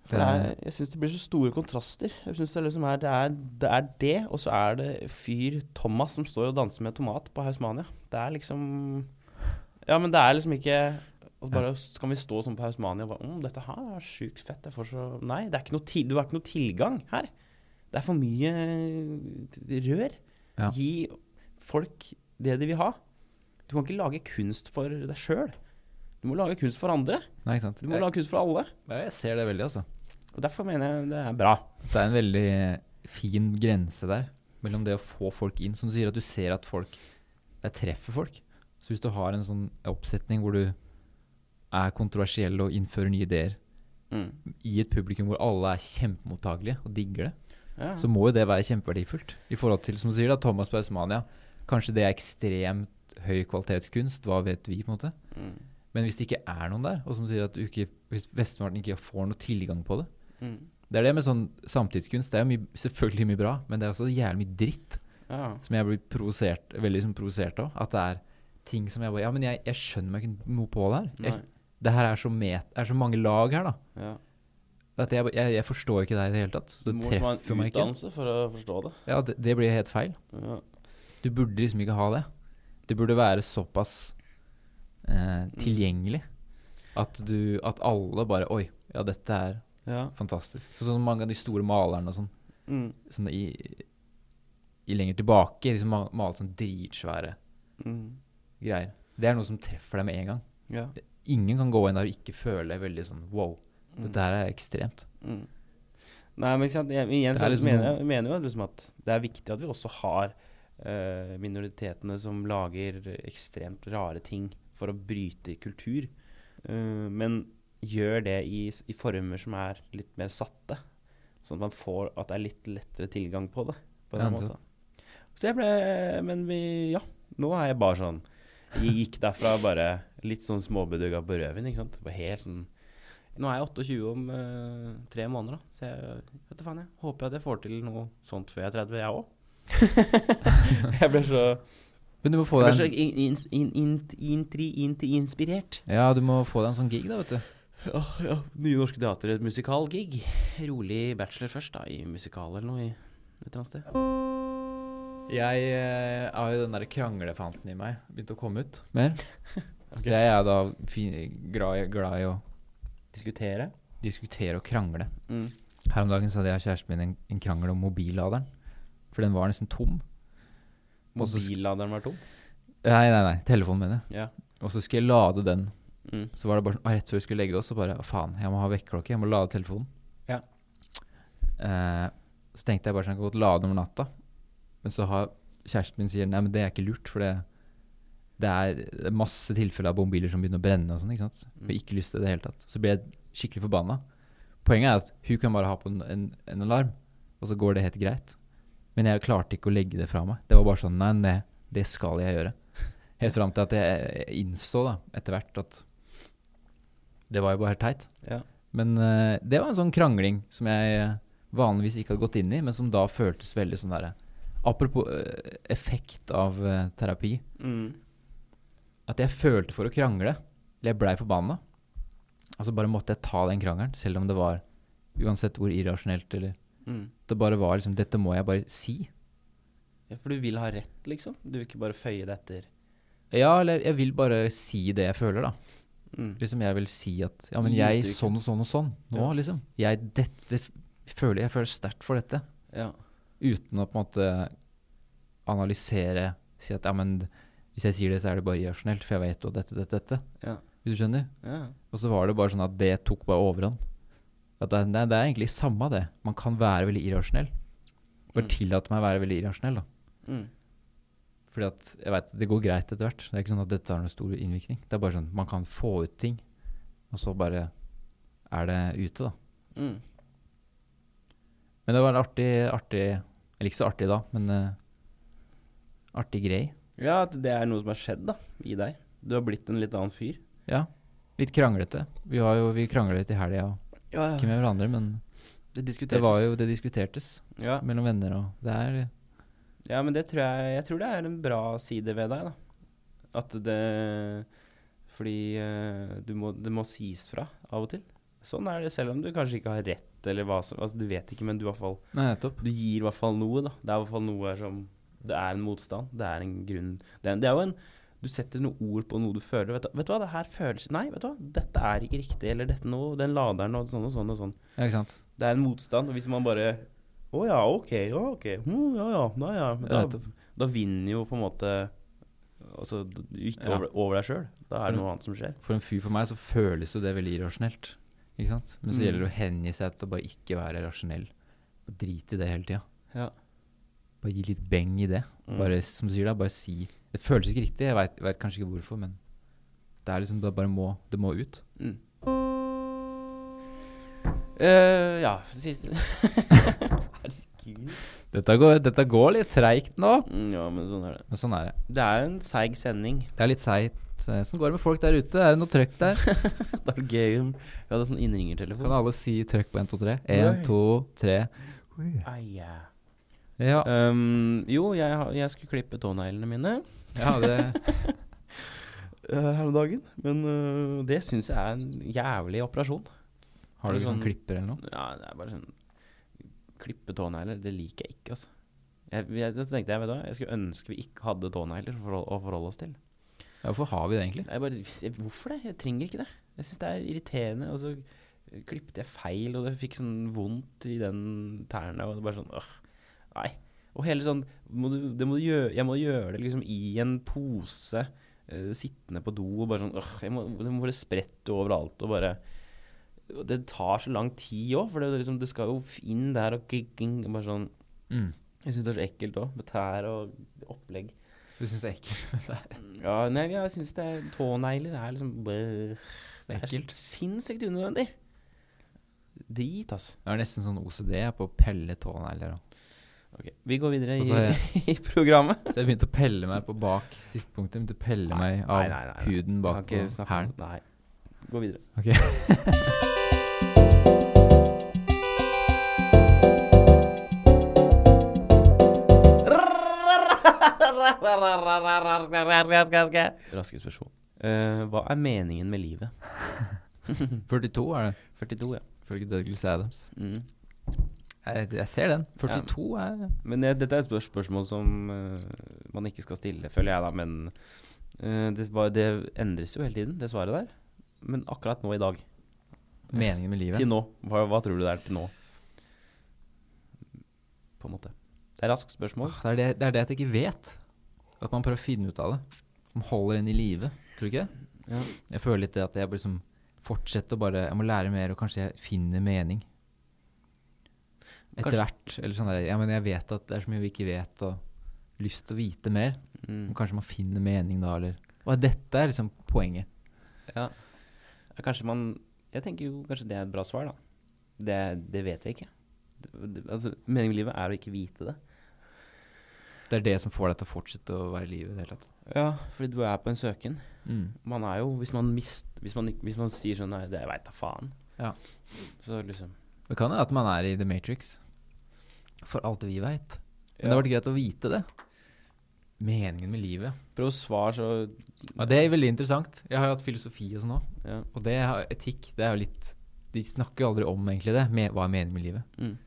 Speaker 1: For det er,
Speaker 2: Mm.
Speaker 1: jeg syns det blir så store kontraster. Jeg synes Det liksom er det, er, det er det, og så er det fyr Thomas som står og danser med tomat på Hausmania. Det er liksom Ja, men det er liksom ikke og så bare så kan vi stå sånn på Hausmania og bare mm, 'Dette her er sjukt fett.' Jeg får så Nei, det er ikke noe til, du har ikke noe tilgang her. Det er for mye rør.
Speaker 2: Ja.
Speaker 1: Gi folk det de vil ha. Du kan ikke lage kunst for deg sjøl. Du må lage kunst for andre.
Speaker 2: Nei, ikke sant?
Speaker 1: Du må
Speaker 2: Jeg,
Speaker 1: lage kunst for alle.
Speaker 2: jeg ser det veldig, altså.
Speaker 1: Og Derfor mener jeg det er bra.
Speaker 2: Det er en veldig fin grense der mellom det å få folk inn. Som du sier, at du ser at folk Det treffer folk. Så hvis du har en sånn oppsetning hvor du er kontroversiell og innfører nye ideer
Speaker 1: Mm.
Speaker 2: i et publikum hvor alle er kjempemottagelige og digger det,
Speaker 1: Ja.
Speaker 2: så må jo det være kjempeverdifullt. I forhold til, som du sier, da, Thomas Pausmania. Kanskje det er ekstremt høy kvalitetskunst, hva vet vi, på en måte.
Speaker 1: Mm.
Speaker 2: Men hvis det ikke er noen der, og som du sier at du ikke, hvis Vestmarten ikke får noe tilgang på det,
Speaker 1: Mm.
Speaker 2: det er det med sånn samtidskunst. Det er jo mye, selvfølgelig mye bra, men det er også jævlig mye dritt
Speaker 1: Ja.
Speaker 2: som jeg blir provosert, veldig sånn provosert av. At det er ting som jeg bare Ja, men jeg, jeg skjønner meg ikke noe på det her.
Speaker 1: Nei.
Speaker 2: Jeg, det her er så, met, er så mange lag her, da.
Speaker 1: Ja.
Speaker 2: At jeg, jeg, jeg forstår ikke det i det hele tatt. Så
Speaker 1: Du
Speaker 2: det
Speaker 1: må liksom ha
Speaker 2: treffer
Speaker 1: en
Speaker 2: meg ikke.
Speaker 1: utdannelse for å forstå det.
Speaker 2: Ja, det, det blir helt feil.
Speaker 1: Ja.
Speaker 2: Du burde liksom ikke ha det. Det burde være såpass
Speaker 1: Mm.
Speaker 2: eh, tilgjengelig at du At alle bare Oi, ja, dette er
Speaker 1: Ja.
Speaker 2: fantastisk. Sånn som mange av de store malerne og sånn.
Speaker 1: Mm.
Speaker 2: sånn i, i lenger tilbake, liksom ma- male sånn dritsvære
Speaker 1: Mm.
Speaker 2: greier. Det er noe som treffer deg med en gang.
Speaker 1: Ja.
Speaker 2: Ingen kan gå inn der og ikke føle veldig sånn wow,
Speaker 1: Mm.
Speaker 2: det der er ekstremt.
Speaker 1: Mm. Nei, men ikke sant? Jeg, igjen
Speaker 2: Det
Speaker 1: så
Speaker 2: er liksom
Speaker 1: mener
Speaker 2: noe-
Speaker 1: jeg mener jo liksom at det er viktig at vi også har eh, minoritetene som lager ekstremt rare ting for å bryte kultur. Eh, men gjør det i, s- i former som er litt mer satte, sånn at man får at det er litt lettere tilgang på det. På den
Speaker 2: Ja,
Speaker 1: måten. Så jeg ble Men vi, ja. Nå er jeg bare sånn Jeg gikk derfra bare litt sånn småbedugga på rødvin, ikke sant. Bare helt sånn nå er jeg 28 om eh, tre måneder, da. så jeg vet du faen, jeg håper at jeg får til noe sånt før jeg er 30, jeg òg. jeg ble så,
Speaker 2: Men du må få
Speaker 1: jeg ble
Speaker 2: deg
Speaker 1: så
Speaker 2: en,
Speaker 1: in, in, in, in, intri, intri, inspirert.
Speaker 2: ja, du må få deg en sånn gig, da, vet du.
Speaker 1: Ja, ja. Nye Norske Teater, et musikalgig. Rolig bachelor først, da, i musikal eller noe. i et eller annet sted.
Speaker 2: Jeg eh, har jo den der kranglefanten i meg begynt å komme ut mer. Så jeg er da fin, glad, i- glad i å
Speaker 1: Diskutere.
Speaker 2: diskutere og krangle.
Speaker 1: Mm.
Speaker 2: Her om dagen så hadde jeg og kjæresten min en, en krangel om mobilladeren, for den var nesten tom. Og så sk-
Speaker 1: Mobilladeren var tom.
Speaker 2: Nei, nei, nei, telefonen mener jeg.
Speaker 1: Ja.
Speaker 2: Og så skulle jeg lade den.
Speaker 1: Mm.
Speaker 2: Så var det bare sånn, ah, rett før vi skulle legge oss, så bare «Å, faen, jeg må ha vekkerklokke, jeg må lade telefonen.
Speaker 1: Ja.
Speaker 2: Eh, så tenkte jeg bare sånn, jeg kan godt lade den over natta. Men så har kjæresten min sier nei, men det er ikke lurt, for det, det er det er masse tilfeller av mobiler som begynner å brenne og sånn, ikke sant. Og ikke lyst til det i det hele tatt. Så ble jeg skikkelig forbanna. Poenget er at hun kan bare ha på en, en, en alarm, og så går det helt greit. Men jeg klarte ikke å legge det fra meg. Det var bare sånn nei, nei, det skal jeg gjøre. Helt fram til at jeg innså da, etter hvert at det var jo bare helt teit.
Speaker 1: Ja.
Speaker 2: Men eh, det var en sånn krangling som jeg eh, vanligvis ikke hadde gått inn i, men som da føltes veldig sånn derre Apropos eh, effekt av eh, terapi.
Speaker 1: Mm.
Speaker 2: At jeg følte for å krangle. Eller jeg blei forbanna. Og så bare måtte jeg ta den krangelen, selv om det var Uansett hvor irrasjonelt eller
Speaker 1: Mm.
Speaker 2: Det bare var liksom Dette må jeg bare si.
Speaker 1: Ja, for du vil ha rett, liksom? Du vil ikke bare føye det etter?
Speaker 2: Ja, eller jeg vil bare si det jeg føler, da.
Speaker 1: Mm.
Speaker 2: Liksom jeg vil si at Ja, men
Speaker 1: Gi
Speaker 2: jeg
Speaker 1: uttrykk.
Speaker 2: sånn og sånn og sånn. Nå,
Speaker 1: Ja.
Speaker 2: liksom. Jeg dette f- føler Jeg føler sterkt for dette.
Speaker 1: Ja.
Speaker 2: uten å på en måte analysere Si at ja, men hvis jeg sier det, så er det bare irrasjonelt, for jeg vet jo dette, dette, dette.
Speaker 1: Ja.
Speaker 2: Hvis du skjønner?
Speaker 1: ja.
Speaker 2: Og så var det bare sånn at det tok bare overhånd. At det, nei, det er egentlig samme det. Man kan være veldig irrasjonell. Bare
Speaker 1: Mm.
Speaker 2: tillate meg å være veldig irrasjonell, da.
Speaker 1: Mm.
Speaker 2: Fordi at jeg vet, det går greit etter hvert. Det er ikke sånn at dette har noen stor innvirkning. Det er bare sånn man kan få ut ting, og så bare er det ute, da.
Speaker 1: Mm.
Speaker 2: Men det var en artig, artig Eller ikke så artig da, men eh, artig grei.
Speaker 1: Ja, at det er noe som har skjedd da, i deg. Du har blitt en litt annen fyr.
Speaker 2: Ja. Litt kranglete. Vi, var jo, vi krangla litt i helga, og
Speaker 1: Ja,
Speaker 2: ikke med hverandre, men
Speaker 1: Det diskuteres.
Speaker 2: det var jo det diskutertes
Speaker 1: ja.
Speaker 2: mellom venner og Det er
Speaker 1: ja, men det tror jeg Jeg tror det er en bra side ved deg, da. At det Fordi eh, du må, det må sies fra av og til. Sånn er det, selv om du kanskje ikke har rett, eller hva som Altså, du vet ikke, men du, i hvert fall,
Speaker 2: Nei, nettopp.
Speaker 1: du gir i hvert fall noe, da. Det er i hvert fall noe som Det er en motstand. Det er en grunn Det er, det er jo en du setter noen ord på noe du føler. Vet du, vet du hva, det her føles Nei, vet du hva, dette er ikke riktig. Eller dette nå, den laderen og sånn og sånn og sånn.
Speaker 2: Ja, ikke sant.
Speaker 1: Det er en motstand. og Hvis man bare Å ja, ok, ja, ok. Hm, ja, ja, da, ja. Men
Speaker 2: Ja,
Speaker 1: Da,
Speaker 2: nettopp.
Speaker 1: da vinner jo på en måte Altså, du du gikk
Speaker 2: Ja. Mm.
Speaker 1: over, over deg sjøl. Da er
Speaker 2: For-
Speaker 1: det noe annet som skjer.
Speaker 2: For en fyr for meg så føles jo det veldig irrasjonelt. Ikke sant? Men så
Speaker 1: Mm.
Speaker 2: gjelder det å hengi seg til å bare ikke være rasjonell. Og drite i det hele tida.
Speaker 1: Ja.
Speaker 2: Bare gi litt beng i det.
Speaker 1: Mm.
Speaker 2: Bare, som du sier da, bare si Det føles ikke riktig, jeg veit kanskje ikke hvorfor, men det er liksom det bare må, det må ut.
Speaker 1: Mm. Eh, ja, siste Herregud.
Speaker 2: Dette går, dette går litt treigt nå,
Speaker 1: Mm, Ja, men sånn er det.
Speaker 2: men sånn er det.
Speaker 1: Det er en seig sending.
Speaker 2: Det er litt seigt. Eh, Sånn går det med folk der ute. Er det noe trøkk der?
Speaker 1: Det er gøy om Vi hadde sånn innringertelefon.
Speaker 2: Kan alle si trøkk på 1, 2, 3?
Speaker 1: Nei.
Speaker 2: 1, 2, 3.
Speaker 1: Ai, ja.
Speaker 2: Ja.
Speaker 1: Um, jo, jeg, har- jeg skulle klippe tåneglene mine
Speaker 2: ja, det
Speaker 1: eh, her om dagen. Men eh, det syns jeg er en jævlig operasjon.
Speaker 2: Har du ikke sånn
Speaker 1: Sånn-
Speaker 2: klipper eller noe?
Speaker 1: Ja, det er bare sånn Klippe tånegler, det liker jeg ikke, altså. Jeg, jeg, da tenkte jeg, vet du hva, jeg skulle ønske vi ikke hadde tånegler for å, å forholde oss til.
Speaker 2: Ja, hvorfor har vi det egentlig?
Speaker 1: Jeg bare, jeg, hvorfor det? Jeg trenger ikke det. Jeg syns det er irriterende. Og så eh, klippet jeg feil, og det fikk sånn vondt i den tærne. Og det bare sånn øh, Nei. Og hele sånn må du, det må du gjøre, Jeg må gjøre det liksom i en pose, eh, sittende på do og bare sånn øh, jeg må, Det må bare sprette overalt og bare og Det tar så lang tid òg, for det, er liksom, det skal jo inn der og kikking og bare sånn
Speaker 2: Mm.
Speaker 1: Jeg syns det er så ekkelt òg, med tær og opplegg.
Speaker 2: Du syns det er ekkelt?
Speaker 1: Ja, nei, jeg syns det er Tånegler er liksom brr, Det er
Speaker 2: Ekkelt.
Speaker 1: så sinnssykt unødvendig. Drit, altså.
Speaker 2: Jeg har nesten sånn OCD på å pelle tånegler. og-
Speaker 1: Ok, Vi går videre i,
Speaker 2: Og så har
Speaker 1: i programmet.
Speaker 2: Så jeg begynte å pelle meg på bak siste punktet. Jeg begynte å pelle
Speaker 1: Nei,
Speaker 2: meg av
Speaker 1: nei, nei, nei, nei.
Speaker 2: huden
Speaker 1: Kan
Speaker 2: bak
Speaker 1: ikke
Speaker 2: på
Speaker 1: snakke
Speaker 2: hælen.
Speaker 1: om- Nei. Gå videre.
Speaker 2: Ok.
Speaker 1: Raske spørsmål. Eh, hva er meningen med livet?
Speaker 2: 42 er det,
Speaker 1: 42, ja.
Speaker 2: ifølge Douglas Adams.
Speaker 1: Mm.
Speaker 2: Jeg, jeg ser den. 42 er
Speaker 1: Men eh, dette er et spør- spørsmål som eh, man ikke skal stille, føler jeg da, men eh, det, var- det endres jo hele tiden, det svaret der. Men akkurat nå i dag,
Speaker 2: meningen med
Speaker 1: til
Speaker 2: livet.
Speaker 1: nå, hva, hva tror du det er til nå? På en måte. Det er raskt spørsmål.
Speaker 2: Åh, Ah, Det er det, det er det at jeg ikke vet. At man prøver å finne ut av det. Som holder en i live. Tror du ikke det?
Speaker 1: Ja.
Speaker 2: Jeg føler litt det at jeg bare liksom fortsetter å bare Jeg må lære mer, og kanskje jeg finner mening. Etter
Speaker 1: Kanskje-
Speaker 2: hvert. Eller sånn der, ja, men jeg vet at det er så mye vi ikke vet, og lyst til å vite mer. Men
Speaker 1: Mm.
Speaker 2: kanskje man finner mening da, eller Og dette er liksom poenget.
Speaker 1: ja. Ja, Kanskje man Jeg tenker jo kanskje det er et bra svar, da. Det, det vet vi ikke. Det, det, altså, meningen med livet er å ikke vite det.
Speaker 2: Det er det som får deg til å fortsette å være i live i det hele tatt.
Speaker 1: Ja, fordi du er på en søken.
Speaker 2: Mm.
Speaker 1: Man er jo Hvis man, mist, hvis man, ikke- hvis man sier sånn Nei, det veit da faen.
Speaker 2: Ja.
Speaker 1: Så liksom
Speaker 2: Det kan hende at man er i The Matrix. For alt vi veit.
Speaker 1: Ja.
Speaker 2: Men det har vært greit å vite det. Meningen med livet.
Speaker 1: Prøv å svare så
Speaker 2: Ja, det er veldig interessant. Jeg har jo hatt filosofi og sånn òg.
Speaker 1: ja.
Speaker 2: Og det har- etikk, det er jo litt De snakker jo aldri om egentlig det. Med, hva er meningen med livet?
Speaker 1: Mm.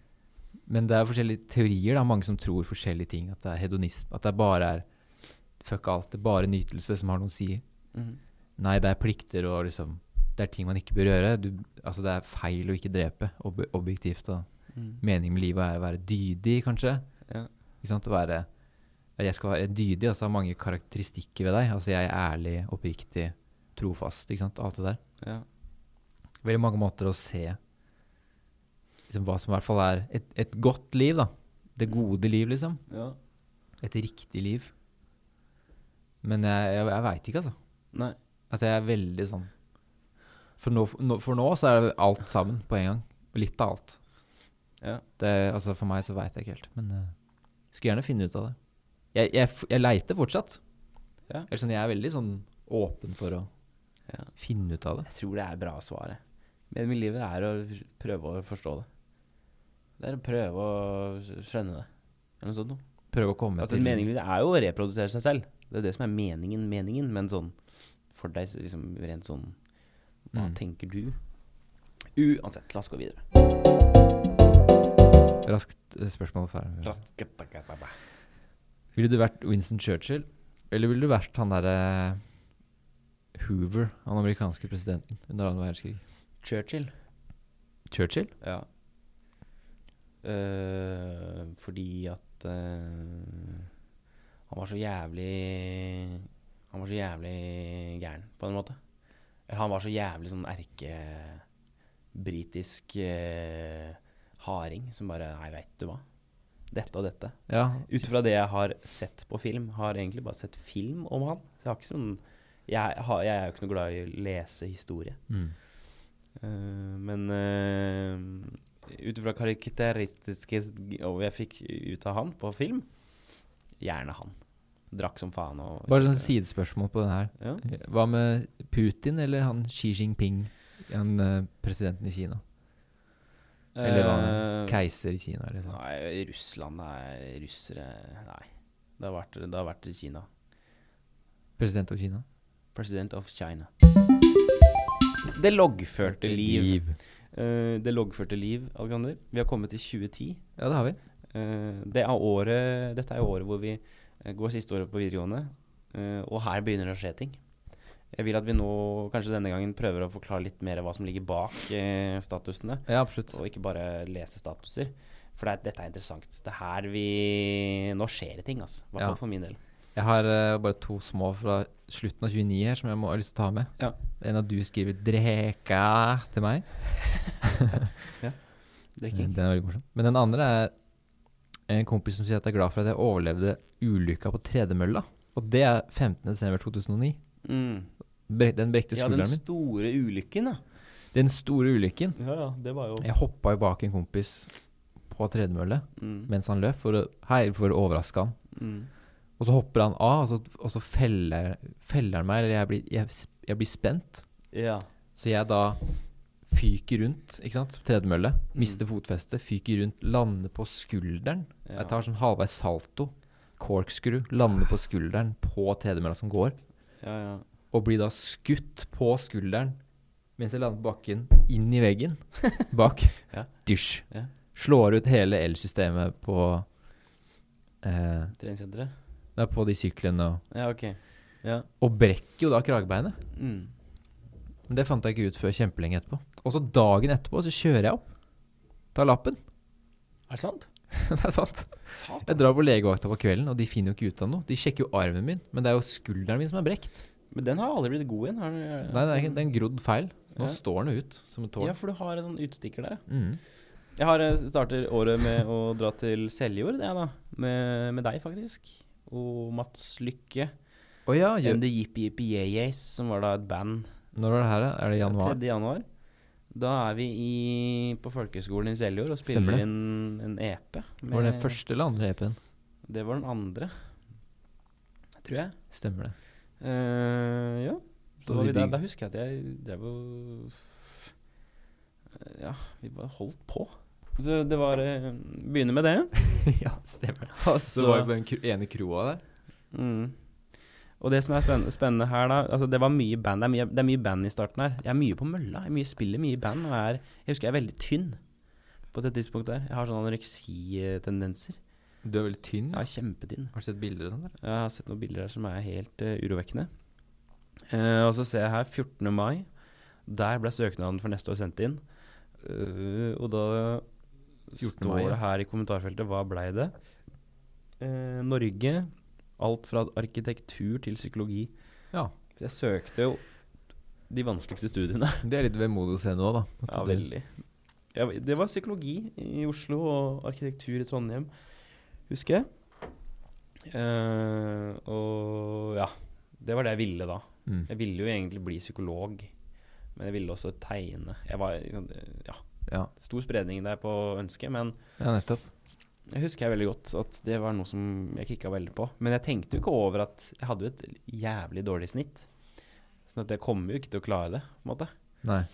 Speaker 2: Men det er forskjellige teorier. da, Mange som tror forskjellige ting. At det er hedonisme. At det bare er fuck alt. Det er bare nytelse som har noe å si.
Speaker 1: Mhm.
Speaker 2: Nei, det er plikter og liksom Det er ting man ikke bør gjøre. Du, altså det er feil å ikke drepe, ob objektivt. Og
Speaker 1: Mm.
Speaker 2: meningen med livet er å være dydig, kanskje.
Speaker 1: Ja.
Speaker 2: Ikke sant? Å være ja, Jeg skal være dydig, altså ha mange karakteristikker ved deg. Altså jeg er ærlig, oppriktig, trofast, ikke sant. Alt det der.
Speaker 1: ja.
Speaker 2: Veldig mange måter å se liksom, hva som i hvert fall er et, et godt liv, da. Det gode liv, liksom.
Speaker 1: ja.
Speaker 2: Et riktig liv. Men jeg, jeg, jeg veit ikke, altså.
Speaker 1: Nei.
Speaker 2: Altså jeg er veldig sånn For nå, nå, for nå så er det alt sammen på en gang. Litt av alt.
Speaker 1: Ja.
Speaker 2: Det, altså for meg så veit jeg ikke helt. Men eh, skulle gjerne finne ut av det. Jeg, jeg, f- jeg leiter fortsatt.
Speaker 1: Ja.
Speaker 2: Eller sånn, jeg er veldig sånn åpen for å
Speaker 1: Ja.
Speaker 2: finne ut av det.
Speaker 1: Jeg tror det er bra svaret. Men med livet er å prøve å forstå det. Det er å prøve å skjønne det. Eller noe sånt noe.
Speaker 2: Prøve å komme
Speaker 1: Altså, meningen med det er jo å reprodusere seg selv. Det er det som er meningen, meningen. Men sånn for deg, så liksom rent sånn Hva
Speaker 2: Mm.
Speaker 1: tenker du? Uansett, la oss gå videre.
Speaker 2: Raskt eh, spørsmål ferdig.
Speaker 1: Nei,
Speaker 2: Ville du vært Winston Churchill, eller ville du vært han derre Hoover, han amerikanske presidenten under annen verdenskrig?
Speaker 1: Churchill.
Speaker 2: Churchill?
Speaker 1: Ja. Eh, fordi at eh, han var så jævlig Han var så jævlig gæren, på en måte. Eller han var så jævlig sånn erkebritisk eh, harding som bare Nei, veit du hva. Dette og dette.
Speaker 2: Ja,
Speaker 1: Ut fra det jeg har sett på film, har egentlig bare sett film om han. Så jeg har ikke sånn Jeg, har, jeg er jo ikke noe glad i å lese historie.
Speaker 2: mm.
Speaker 1: Eh, men uh, ut ifra karakteristiske og jeg fikk ut av han på film, gjerne han. Drakk som faen og
Speaker 2: Bare sånn sidespørsmål på den her.
Speaker 1: Ja.
Speaker 2: Hva med Putin eller han Xi Jinping, han eh, presidenten i Kina? Eller hva han
Speaker 1: Eh,
Speaker 2: Keiser i Kina, eller sånn. sånt.
Speaker 1: Nei, Russland er russere Nei. Det har vært, det har vært Kina.
Speaker 2: President av Kina?
Speaker 1: President of China. Det loggførte liv. Eh, det loggførte liv, Alexander. Vi har kommet til 2010.
Speaker 2: Ja, det har vi.
Speaker 1: Eh, det er året, dette er jo året hvor vi eh, går siste året på videregående, eh, og her begynner det å skje ting. Jeg vil at vi nå, kanskje denne gangen, prøver å forklare litt mer hva som ligger bak eh, statusene,
Speaker 2: Ja, absolutt.
Speaker 1: og ikke bare lese statuser. For det er, dette er interessant. Det er her vi Nå skjer det ting, altså. I hvert
Speaker 2: Ja.
Speaker 1: fall for min del.
Speaker 2: Jeg har eh, bare to små fra slutten av 29 her som jeg må, har lyst til å ta med.
Speaker 1: Ja.
Speaker 2: En av du skriver 'dreka' til meg. Eh,
Speaker 1: Drikking.
Speaker 2: Den er veldig morsom. Men den andre er en kompis som sier at jeg er glad for at jeg overlevde ulykka på tredemølla. Og det er 15.12.2009.
Speaker 1: Mm.
Speaker 2: Den brekte
Speaker 1: Ja, den
Speaker 2: skulderen min.
Speaker 1: store ulykken, da.
Speaker 2: Den store ulykken.
Speaker 1: Ja, ja, det var jo
Speaker 2: Jeg hoppa jo bak en kompis på tredemølle
Speaker 1: mm.
Speaker 2: mens han løp, for å, hei, for å overraske han.
Speaker 1: Mm.
Speaker 2: Og så hopper han av, og så, og så feller, feller han meg, eller jeg blir, jeg, jeg blir spent.
Speaker 1: Ja.
Speaker 2: Så jeg da fyker rundt, ikke sant, på tredemølle,
Speaker 1: Mm.
Speaker 2: mister fotfestet, fyker rundt, lander på skulderen.
Speaker 1: Ja.
Speaker 2: Jeg tar sånn halvveis salto, corkscrew, lander på skulderen på tredemølla som går,
Speaker 1: ja, ja.
Speaker 2: og blir da skutt på skulderen mens jeg lander på bakken, inn i veggen bak.
Speaker 1: Ja.
Speaker 2: Dysj.
Speaker 1: Ja.
Speaker 2: Slår ut hele elsystemet på eh,
Speaker 1: Treningssenteret?
Speaker 2: det er på de syklene og
Speaker 1: Ja, OK. Ja.
Speaker 2: Og brekker jo da kragebeinet.
Speaker 1: Mm.
Speaker 2: Men det fant jeg ikke ut før kjempelenge etterpå. Og så dagen etterpå så kjører jeg opp. Tar lappen.
Speaker 1: Er det sant?
Speaker 2: det er sant.
Speaker 1: Satan.
Speaker 2: Jeg drar på legevakta på kvelden, og de finner jo ikke ut av noe. De sjekker jo armen min, men det er jo skulderen min som er brekt.
Speaker 1: Men den har aldri blitt god igjen. Har den,
Speaker 2: Nei, det er ikke- det er en grodd feil. Så nå
Speaker 1: Ja.
Speaker 2: står den jo ut som et tårn.
Speaker 1: Ja, for du har en sånn utstikker der.
Speaker 2: Mm.
Speaker 1: Jeg har, eh, starter året med å dra til Seljord, jeg, da. Med, med deg, faktisk. Og Mats Lykke.
Speaker 2: Å ja, gjør-
Speaker 1: And the Yippie Yippie Yay Yays, som var da et band.
Speaker 2: når var det her, da? Er det januar?
Speaker 1: 3. januar. Da er vi i, på folkehøgskolen i Seljord og
Speaker 2: Stemmer
Speaker 1: spiller
Speaker 2: det.
Speaker 1: inn en EP.
Speaker 2: Var det den
Speaker 1: med-
Speaker 2: første eller andre E EP-en?
Speaker 1: Det var den andre, tror jeg.
Speaker 2: Stemmer det.
Speaker 1: Eh, ja.
Speaker 2: Så
Speaker 1: Da, var
Speaker 2: de
Speaker 1: vi der,
Speaker 2: bygde-
Speaker 1: da husker jeg at jeg drev og Ja, vi bare holdt på. Så det var eh, Begynne med det.
Speaker 2: ja, stemmer det.
Speaker 1: Altså-
Speaker 2: Så var det på den kro- ene kroa der.
Speaker 1: Mm. Og det som er spennende, spennende her, da altså Det var mye band. Det er mye, det er mye band i starten her. Jeg er mye på mølla. Jeg er mye, spiller mye i band. Og jeg, er, jeg husker jeg er veldig tynn på det tidspunktet her. Jeg har sånne anoreksitendenser.
Speaker 2: Du er veldig tynn.
Speaker 1: Jeg er kjempetynn.
Speaker 2: Har du sett bilder og sånn? der?
Speaker 1: Jeg har sett noen bilder her som er helt eh, urovekkende. Eh, og så ser jeg her 14. mai. Der ble søknaden for neste år sendt inn. Eh, og da
Speaker 2: 14.
Speaker 1: står
Speaker 2: mai, ja.
Speaker 1: det her i kommentarfeltet hva blei det? Eh, Norge. Alt fra arkitektur til psykologi.
Speaker 2: Ja.
Speaker 1: Så jeg søkte jo de vanskeligste studiene.
Speaker 2: Det er litt vemodig å se nå, da. At
Speaker 1: Ja,
Speaker 2: du-
Speaker 1: veldig. Ja, det var psykologi i Oslo og arkitektur i Trondheim, husker jeg. Eh, og ja, det var det jeg ville da.
Speaker 2: Mm.
Speaker 1: Jeg ville jo egentlig bli psykolog, men jeg ville også tegne. Jeg var liksom, ja,
Speaker 2: Ja.
Speaker 1: stor spredning der på ønsket, men
Speaker 2: ja, nettopp.
Speaker 1: jeg husker jeg veldig godt at det var noe som jeg kikka veldig på. Men jeg tenkte jo ikke over at jeg hadde jo et jævlig dårlig snitt. Sånn at jeg kommer jo ikke til å klare det, på en måte.
Speaker 2: Nei.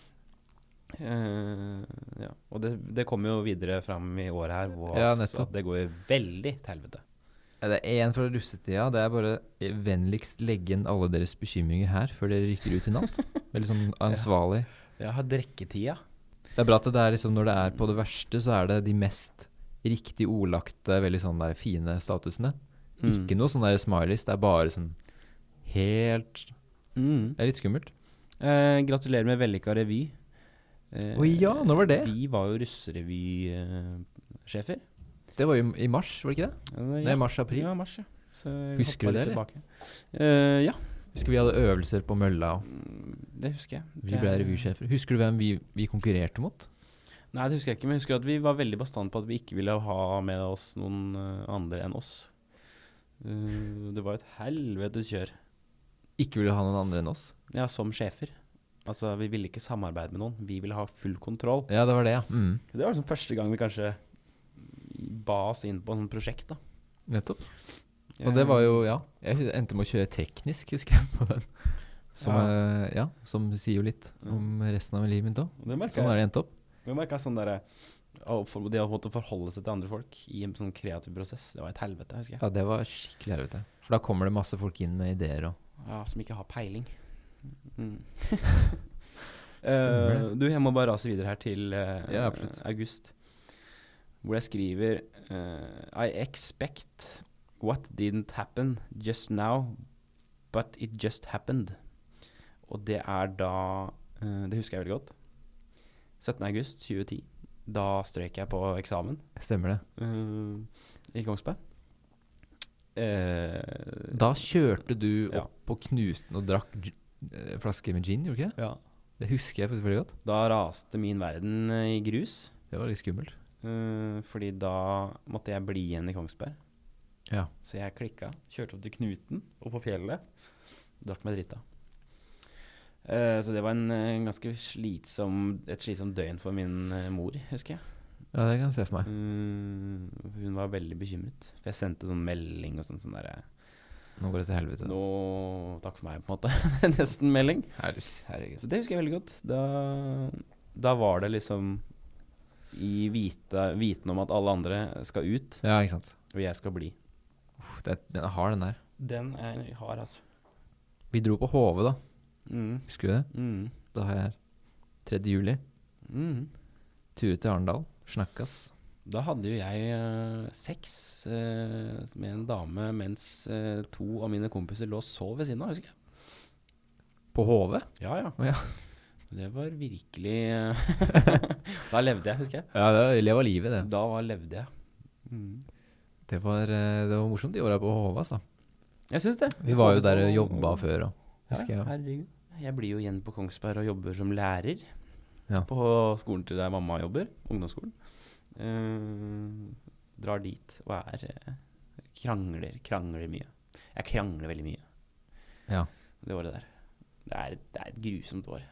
Speaker 1: Eh, ja. Og det, det kommer jo videre fram i året her, hvor
Speaker 2: Ja,
Speaker 1: altså
Speaker 2: nettopp.
Speaker 1: at det går jo veldig til helvete.
Speaker 2: Ja, Det er én fra russetida. Det er bare eh, vennligst legge inn alle deres bekymringer her før dere rykker ut i natt. Veldig sånn ansvarlig.
Speaker 1: Jeg har drikketida.
Speaker 2: Det er bra at det er liksom når det er på det verste, så er det de mest riktig ordlagte, veldig sånn der fine statusene.
Speaker 1: Mm.
Speaker 2: Ikke noe sånn der smileys. Det er bare sånn helt
Speaker 1: Mm.
Speaker 2: Det er litt skummelt.
Speaker 1: Eh, gratulerer med vellykka revy. Eh,
Speaker 2: Å ja, når var det?
Speaker 1: Vi var jo russerevysjef sjefer.
Speaker 2: Det var jo i mars, var det ikke det?
Speaker 1: Ja,
Speaker 2: Det er mars-april.
Speaker 1: Ja, mars, ja. Så jeg
Speaker 2: Husker
Speaker 1: hoppa
Speaker 2: du det,
Speaker 1: litt
Speaker 2: eller?
Speaker 1: tilbake. Eh, ja,
Speaker 2: Husker vi hadde øvelser på mølla, og
Speaker 1: Mm, det husker jeg.
Speaker 2: vi
Speaker 1: Det
Speaker 2: ble
Speaker 1: er-
Speaker 2: revysjefer. Husker du hvem vi, vi konkurrerte mot?
Speaker 1: Nei, det husker jeg ikke, men jeg husker at vi var veldig bastant på at vi ikke ville ha med oss noen eh, andre enn oss. Eh, det var et helvetes kjør.
Speaker 2: Ikke ville ha noen andre enn oss.
Speaker 1: Ja, som sjefer. Altså, vi ville ikke samarbeide med noen. Vi ville ha full kontroll.
Speaker 2: Ja, det var det, ja. Mm.
Speaker 1: Det var liksom første gang vi kanskje ba oss inn på et sånt prosjekt, da.
Speaker 2: Nettopp. Og det var jo, ja. Jeg hu- endte med å kjøre teknisk, husker jeg, på den. Som, ja. ja, som sier jo litt om resten av livet mitt òg.
Speaker 1: Og Det merka
Speaker 2: Sånn er
Speaker 1: jeg.
Speaker 2: det endt opp.
Speaker 1: Jeg merket sånn derre å, for- Det å måtte forholde seg til andre folk i en sånn kreativ prosess, det var et helvete, husker jeg.
Speaker 2: Ja, det var skikkelig helvete. For da kommer det masse folk inn med ideer og
Speaker 1: Ja, som ikke har peiling. Mm.
Speaker 2: Stemmer
Speaker 1: Eh, du, jeg må bare rase videre her til eh,
Speaker 2: Ja, absolutt.
Speaker 1: august. Hvor jeg skriver eh, I expect what didn't happen just now, but it just happened. Og det er da eh, Det husker jeg veldig godt. 17. august 2010. Da strøyk jeg på eksamen
Speaker 2: Stemmer det.
Speaker 1: eh, i Kongsberg. Eh,
Speaker 2: Da kjørte du
Speaker 1: Ja.
Speaker 2: opp på knuten og drakk gi- eh, flaske med gin, gjorde du ikke det?
Speaker 1: ja.
Speaker 2: Det husker jeg faktisk veldig godt.
Speaker 1: Da raste min verden eh, i grus.
Speaker 2: Det var litt skummelt.
Speaker 1: eh, fordi da måtte jeg bli igjen i Kongsberg.
Speaker 2: Ja.
Speaker 1: Så jeg klikka, kjørte opp til Knuten og på fjellet. Drakk meg drita. Eh, så det var en, eh, en ganske slitsom, et slitsomt døgn for min eh, mor, husker jeg.
Speaker 2: ja, det kan jeg se for meg.
Speaker 1: Eh, hun var veldig bekymret. For jeg sendte sånn melding og sånn, sånn derre
Speaker 2: Nå går det til helvete.
Speaker 1: Nå Takk for meg, på en måte. Nesten melding.
Speaker 2: Herres- Herregud.
Speaker 1: Så det husker jeg veldig godt. Da, da var det liksom i vite, viten om at alle andre skal ut,
Speaker 2: Ja, ikke sant.
Speaker 1: og jeg skal bli.
Speaker 2: Uff, det er, den er hard, den der.
Speaker 1: Den er hard, altså.
Speaker 2: Vi dro på HV, da.
Speaker 1: Mm,
Speaker 2: Husker du det?
Speaker 1: mm,
Speaker 2: Da har jeg 3. juli.
Speaker 1: mm.
Speaker 2: Turer til Arendal. Snakkas.
Speaker 1: Da hadde jo jeg eh, sex eh, med en dame mens eh, to av mine kompiser lå og sov ved siden av, husker jeg.
Speaker 2: På HV?
Speaker 1: Ja, ja.
Speaker 2: Å, ja.
Speaker 1: Det var virkelig eh, Da levde jeg, husker jeg.
Speaker 2: Ja, det var, det var livet, det.
Speaker 1: Da var, levde jeg. Mm.
Speaker 2: Det var, eh, det var morsomt de åra på HV, altså.
Speaker 1: Jeg syns det.
Speaker 2: Vi var jo der og jobba før og husker
Speaker 1: ja,
Speaker 2: jeg.
Speaker 1: herregud. Jeg blir jo igjen på Kongsberg og jobber som lærer
Speaker 2: Ja.
Speaker 1: på skolen til der mamma jobber, ungdomsskolen. Eh, drar dit og er eh, Krangler, krangler mye. Jeg krangler veldig mye.
Speaker 2: Ja.
Speaker 1: Det året der. Det er, det er et grusomt år.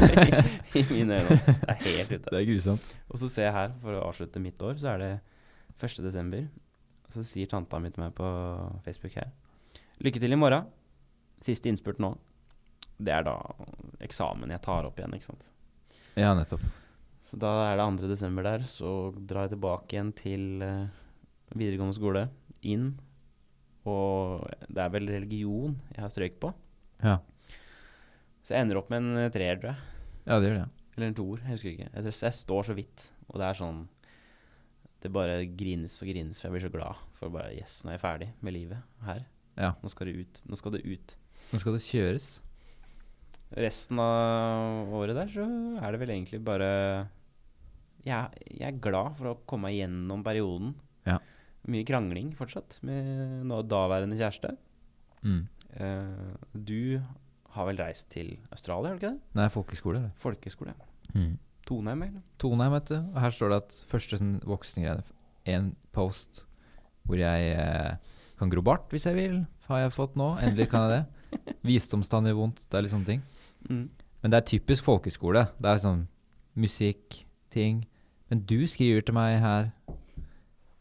Speaker 1: I, mine øyne. ass. Det er helt ute.
Speaker 2: er grusomt.
Speaker 1: Og så ser jeg her, for å avslutte mitt år, så er det 1. desember. Og så sier tanta mi til meg på Facebook her Lykke til i morgen. Siste innspurt nå. Det er da eksamen jeg tar opp igjen, ikke sant.
Speaker 2: Ja, nettopp.
Speaker 1: Så da er det 2. desember der, så drar jeg tilbake igjen til eh, videregående skole, inn, og det er vel religion jeg har strøyk på.
Speaker 2: Ja,
Speaker 1: Så jeg ender opp med en eh, treer, tror jeg.
Speaker 2: ja det gjør det. ja.
Speaker 1: Eller en toer, jeg husker ikke. Jeg, tror, jeg står så vidt, og det er sånn Det bare grines og grines, for jeg blir så glad. For bare Yes, nå er jeg ferdig med livet her.
Speaker 2: Ja.
Speaker 1: Nå skal det ut. Nå skal det ut.
Speaker 2: Nå skal det kjøres.
Speaker 1: Resten av året der så er det vel egentlig bare Jeg, jeg er glad for å komme meg gjennom perioden.
Speaker 2: Ja.
Speaker 1: Mye krangling fortsatt med nå daværende kjæreste.
Speaker 2: Mm.
Speaker 1: Eh, du har vel reist til Australia, har du ikke det?
Speaker 2: Nei, folkeskole. Det.
Speaker 1: Folkeskole.
Speaker 2: Mm.
Speaker 1: Toneheim, eller?
Speaker 2: Toneheim, vet du. Og her står det at første sånn voksengreie En post hvor jeg eh, kan gro bart hvis jeg vil, har jeg fått nå. Endelig kan jeg det. Visdomstann gjør vondt. Det er litt sånne ting.
Speaker 1: Mm.
Speaker 2: Men det er typisk folkeskole. Det er sånn musikk, ting. Men du skriver til meg her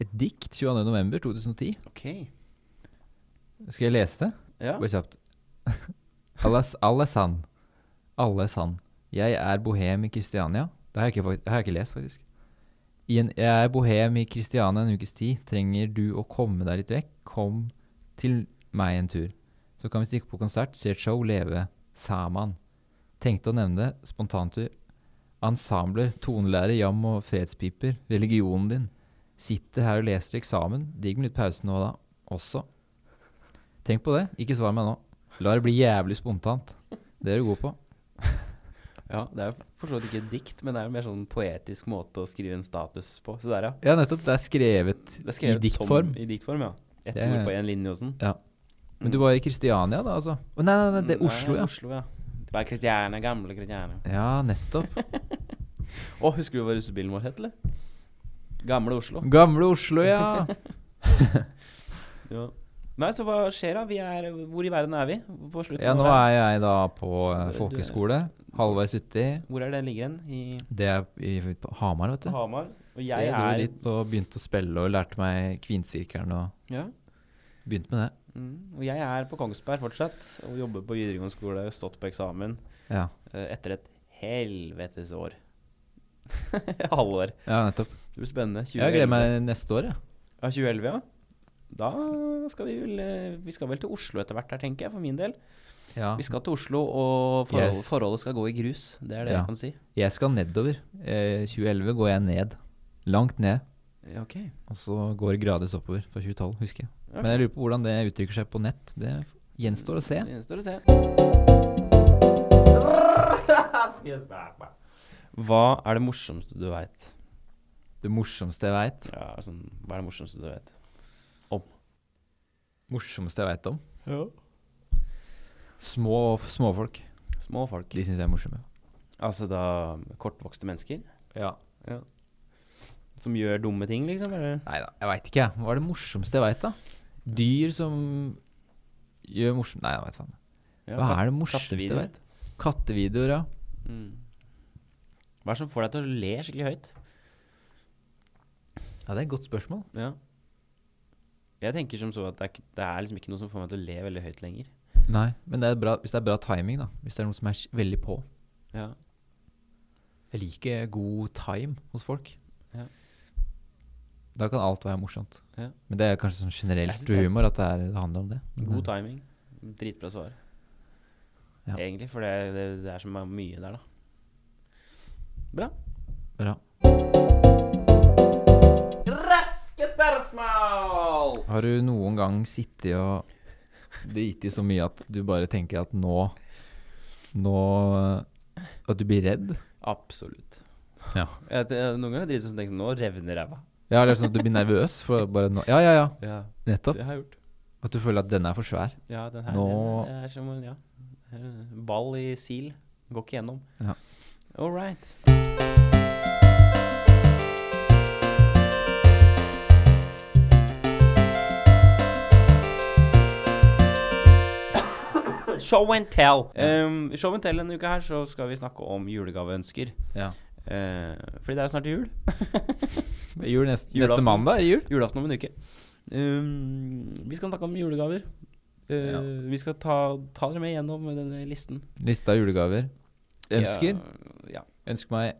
Speaker 2: et dikt 22.11.2010.
Speaker 1: Ok.
Speaker 2: Skal jeg lese det?
Speaker 1: Ja.
Speaker 2: Bare kjapt. Alle s- alle er sann. Alle er sann. Jeg er bohem i Kristiania. Det har jeg ikke, fakt- det har jeg ikke lest, faktisk. I en, jeg er bohem i Kristiania en ukes tid. Trenger du å komme deg litt vekk? Kom til meg en tur. Så kan vi stikke på konsert, se et show, leve saman. Tenkte å nevne spontantur. Ensembler, tonelærer, jam og fredspiper. Religionen din. Sitter her og leser eksamen. Digg med litt pause nå og da også. Tenk på det. Ikke svar meg nå. La det bli jævlig spontant. Det er du god på.
Speaker 1: Ja, det er jo for så vidt ikke et dikt, men det er jo mer sånn poetisk måte å skrive en status på. Så der, ja.
Speaker 2: Ja, nettopp. Det er skrevet,
Speaker 1: Det er skrevet
Speaker 2: i diktform.
Speaker 1: Som, I diktform, ja. Ett
Speaker 2: Det er-
Speaker 1: ord på én linje og sånn.
Speaker 2: Men du var i Kristiania, da, altså? Å, nei, nei, nei, det er Oslo, ja.
Speaker 1: Oslo, Mm, ja. Det er Kristiane, gamle Kristiane.
Speaker 2: Ja, nettopp.
Speaker 1: Å, husker du hva russebilen vår het, eller? Gamle Oslo.
Speaker 2: Gamle Oslo, ja.
Speaker 1: Ja. Nei, så hva skjer da? Vi er, hvor i verden er vi? På slutten
Speaker 2: Ja,
Speaker 1: av
Speaker 2: nå
Speaker 1: verden.
Speaker 2: er jeg da på eh, folkehøyskole. Halvveis uti.
Speaker 1: Hvor er det ligger hen? I
Speaker 2: Det er i, på Hamar, vet du.
Speaker 1: Hamar. Og
Speaker 2: Så jeg
Speaker 1: jeg
Speaker 2: dro
Speaker 1: er
Speaker 2: dit og begynte å spille og lærte meg Kvinsirkelen og
Speaker 1: Ja.
Speaker 2: begynte med det.
Speaker 1: Mm. Og jeg er på Kongsberg fortsatt, og jobber på videregående skole, stått på eksamen
Speaker 2: Ja,
Speaker 1: eh, etter et helvetes år. Halvår.
Speaker 2: ja nettopp.
Speaker 1: Det blir spennende.
Speaker 2: Jeg gleder meg neste år, jeg.
Speaker 1: Ja, 2011, ja. Da skal vi vel eh, Vi skal vel til Oslo etter hvert her, tenker jeg, for min del.
Speaker 2: Ja.
Speaker 1: Vi skal til Oslo, og forhold,
Speaker 2: Yes.
Speaker 1: forholdet skal gå i grus. Det er det
Speaker 2: Ja.
Speaker 1: jeg kan si.
Speaker 2: Jeg skal nedover. Eh, 2011 går jeg ned. Langt ned.
Speaker 1: Ja, Ok.
Speaker 2: Og så går det gradvis oppover fra 2012, husker jeg.
Speaker 1: Ok.
Speaker 2: Men jeg lurer på hvordan det uttrykker seg på nett. Det gjenstår å se.
Speaker 1: Det gjenstår å se. Hva er det morsomste du veit?
Speaker 2: Det morsomste jeg veit.
Speaker 1: Ja, sånn, hva er det morsomste du vet?
Speaker 2: Morsomste jeg veit om. Små småfolk.
Speaker 1: Små folk.
Speaker 2: De syns jeg er morsomme.
Speaker 1: Altså da kortvokste mennesker
Speaker 2: Ja.
Speaker 1: som gjør dumme ting, liksom? Eller?
Speaker 2: Nei da, jeg veit ikke, jeg. Hva er det morsomste jeg veit, da? Dyr som gjør morsom... Nei, jeg veit faen.
Speaker 1: Ja,
Speaker 2: Hva
Speaker 1: katt-
Speaker 2: er det morsomste jeg
Speaker 1: kattevideoer.
Speaker 2: veit? Kattevideoer, ja.
Speaker 1: Mm. Hva er det som får deg til å le skikkelig høyt?
Speaker 2: Ja, det er et godt spørsmål.
Speaker 1: Ja. Jeg tenker som så at det er, ikke- det er liksom ikke noe som får meg til å le veldig høyt lenger.
Speaker 2: Nei, men det er bra, hvis det er bra timing, da. Hvis det er noen som er s- veldig på.
Speaker 1: Ja.
Speaker 2: Jeg liker god time hos folk.
Speaker 1: Ja.
Speaker 2: Da kan alt være morsomt.
Speaker 1: Ja.
Speaker 2: Men det er kanskje sånn
Speaker 1: Jeg synes
Speaker 2: generelt
Speaker 1: det er-
Speaker 2: humor at det, er, det handler om det. Men
Speaker 1: God
Speaker 2: det-
Speaker 1: timing. Dritbra svar.
Speaker 2: Ja.
Speaker 1: Egentlig, for det, det, det er så mye der, da. Bra.
Speaker 2: eh, Bra.
Speaker 1: Raske spørsmål!
Speaker 2: Har du noen gang sittet og driti så mye at du bare tenker at nå Nå eh, At du blir redd?
Speaker 1: Absolutt.
Speaker 2: Ja.
Speaker 1: Jeg, jeg, noen ganger driter jeg sånn tenker sånn, nå revner ræva.
Speaker 2: Ja, eller sånn at du blir nervøs for bare nå Ja, ja, ja.
Speaker 1: Ja,
Speaker 2: Nettopp.
Speaker 1: det har jeg gjort.
Speaker 2: At du føler at denne er for svær.
Speaker 1: Ja, den her
Speaker 2: Nå-
Speaker 1: den er som en- ja. Eh, Ball i sil. Går ikke gjennom.
Speaker 2: Ja.
Speaker 1: All right. Show and tell. Um, show and tell denne uka her, så skal vi snakke om julegaveønsker.
Speaker 2: Ja.
Speaker 1: Eh, fordi det er jo snart jul.
Speaker 2: Det er Jul neste, neste
Speaker 1: Julaften.
Speaker 2: mandag er jul.
Speaker 1: Julaften om en uke. Um, vi skal snakke om julegaver. Eh,
Speaker 2: Ja.
Speaker 1: Vi skal ta, ta dere med gjennom denne listen.
Speaker 2: Lista av julegaver. Ønsker.
Speaker 1: Ja,
Speaker 2: Ønsker meg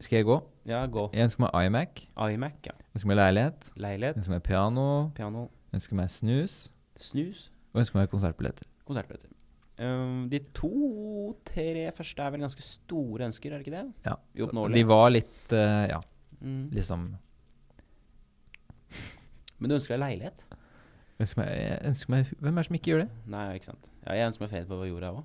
Speaker 2: Skal jeg gå?
Speaker 1: ja. ja gå.
Speaker 2: Jeg ønsker meg iMac.
Speaker 1: iMac, ja.
Speaker 2: Ønsker meg leilighet.
Speaker 1: Leilighet,
Speaker 2: Ønsker meg piano.
Speaker 1: piano,
Speaker 2: Ønsker meg snus.
Speaker 1: snus,
Speaker 2: Og ønsker meg konsertbilletter.
Speaker 1: konsertbilletter. Um, de to-tre første er vel ganske store ønsker, er det ikke det?
Speaker 2: Ja. De
Speaker 1: Uoppnåelige.
Speaker 2: var litt eh, Ja,
Speaker 1: Mm.
Speaker 2: liksom
Speaker 1: Men du ønsker deg leilighet?
Speaker 2: ønsker meg, jeg ønsker meg Hvem er det som ikke gjør det?
Speaker 1: Nei, ikke sant. Ja, jeg ønsker meg fred på jorda òg.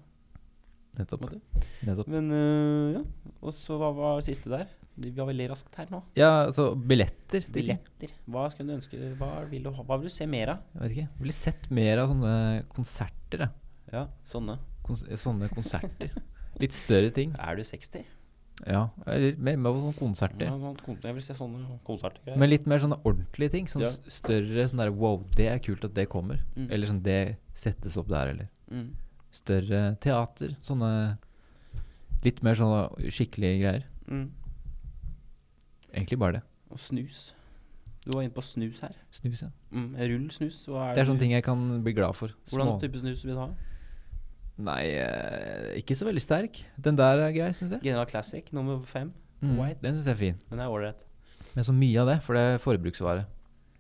Speaker 2: Nettopp.
Speaker 1: Måte.
Speaker 2: Nettopp.
Speaker 1: Men øh, ja. Og så hva var det siste der? Vi var veldig raskt her nå.
Speaker 2: Ja, altså billetter. til-
Speaker 1: Billetter. Hva skulle du ønske Hva vil du, ha? Hva vil du se mer av?
Speaker 2: Jeg vet ikke. Jeg ville sett mer av sånne konserter. jeg.
Speaker 1: Ja, sånne.
Speaker 2: Kons sånne konserter. Litt større ting.
Speaker 1: Er du 60?
Speaker 2: Ja. Litt mer mer sånne
Speaker 1: Ja,
Speaker 2: konserter.
Speaker 1: sånn kon- jeg vil se sånne konsertgreier.
Speaker 2: Men litt mer sånne ordentlige ting. Sånn
Speaker 1: Ja.
Speaker 2: s- større sånn der Wow, det er kult at det kommer.
Speaker 1: Mm.
Speaker 2: Eller sånn det settes opp der, eller.
Speaker 1: mm.
Speaker 2: større teater. Sånne litt mer sånne skikkelige greier.
Speaker 1: Mm.
Speaker 2: Egentlig bare det.
Speaker 1: Og snus. Du var inne på snus her.
Speaker 2: Snus, ja.
Speaker 1: Mm. Rull snus. Hva er
Speaker 2: Det er sånne
Speaker 1: du-
Speaker 2: ting jeg kan bli glad for.
Speaker 1: Hvordan
Speaker 2: Små.
Speaker 1: type snus vil du ha?
Speaker 2: Nei, eh, ikke så veldig sterk. Den der er grei, syns jeg.
Speaker 1: General Classic nummer fem.
Speaker 2: Mm,
Speaker 1: White.
Speaker 2: Den syns jeg er fin.
Speaker 1: Den er ålreit.
Speaker 2: Men så mye av det, for det er forbruksvare.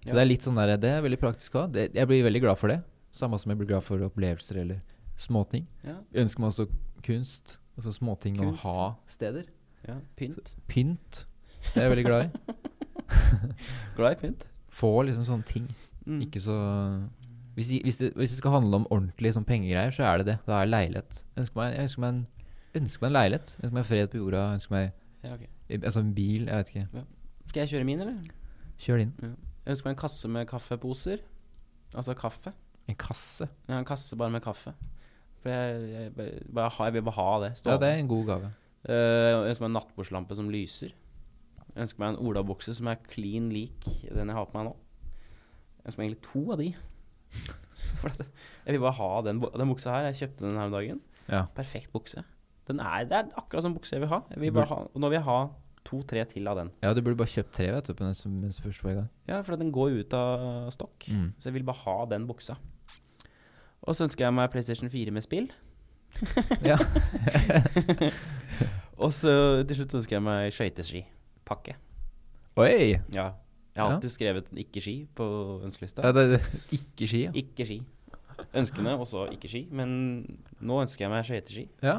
Speaker 2: Så
Speaker 1: Ja.
Speaker 2: det er litt sånn der, det er veldig praktisk å ha. Det, jeg blir veldig glad for det. Samme som jeg blir glad for opplevelser eller småting.
Speaker 1: Ja.
Speaker 2: Jeg ønsker meg også kunst. Altså småting
Speaker 1: Kunst.
Speaker 2: å ha steder.
Speaker 1: ja. Pynt.
Speaker 2: Pynt. Det er jeg veldig glad i.
Speaker 1: Glad i pynt.
Speaker 2: Få liksom sånne ting.
Speaker 1: Mm.
Speaker 2: Ikke så hvis, de, hvis, det, hvis det skal handle om ordentlig sånn pengegreier, så er det det. Da er leilighet. Jeg ønsker meg, jeg ønsker meg en ønsker meg en leilighet. Ønsker meg fred på jorda. Ønsker meg
Speaker 1: Ja, ok.
Speaker 2: Altså en bil, jeg vet ikke.
Speaker 1: Skal jeg kjøre min, eller?
Speaker 2: Kjør det inn.
Speaker 1: Jeg ønsker meg en kasse med kaffeposer. Altså kaffe.
Speaker 2: En kasse.
Speaker 1: Ja, en kasse bare med kaffe. For jeg, jeg, bare- bare, ha- jeg vil bare ha det.
Speaker 2: Ja, det
Speaker 1: stående.
Speaker 2: er en god gave.
Speaker 1: Eh, jeg ønsker meg en nattbordslampe som lyser. Jeg ønsker meg en olabokse som er clean lik den jeg har på meg nå. Jeg ønsker meg egentlig to av de. For at jeg vil bare ha den, bo- den buksa her. Jeg kjøpte den her om dagen.
Speaker 2: Ja.
Speaker 1: Perfekt bukse. Den er, det er akkurat sånn bukse jeg vil ha. Jeg vil bare ha og nå vil jeg ha to-tre til av den.
Speaker 2: ja, du burde bare kjøpt tre vet du, på den som- mens du først var i gang.
Speaker 1: Ja, for at den går ut av stokk.
Speaker 2: Mm.
Speaker 1: Så jeg vil bare ha den buksa. Og så ønsker jeg meg PlayStation 4 med spill.
Speaker 2: Ja.
Speaker 1: Og så til slutt ønsker jeg meg skøyteskipakke.
Speaker 2: Oi!
Speaker 1: Ja. Jeg har alltid skrevet en ikke-ski på ønskelista.
Speaker 2: Ja, det, det, ikke ski, ja.
Speaker 1: Ikke ski. Ønskene også ikke ski, men nå ønsker jeg meg skøyteski.
Speaker 2: ja.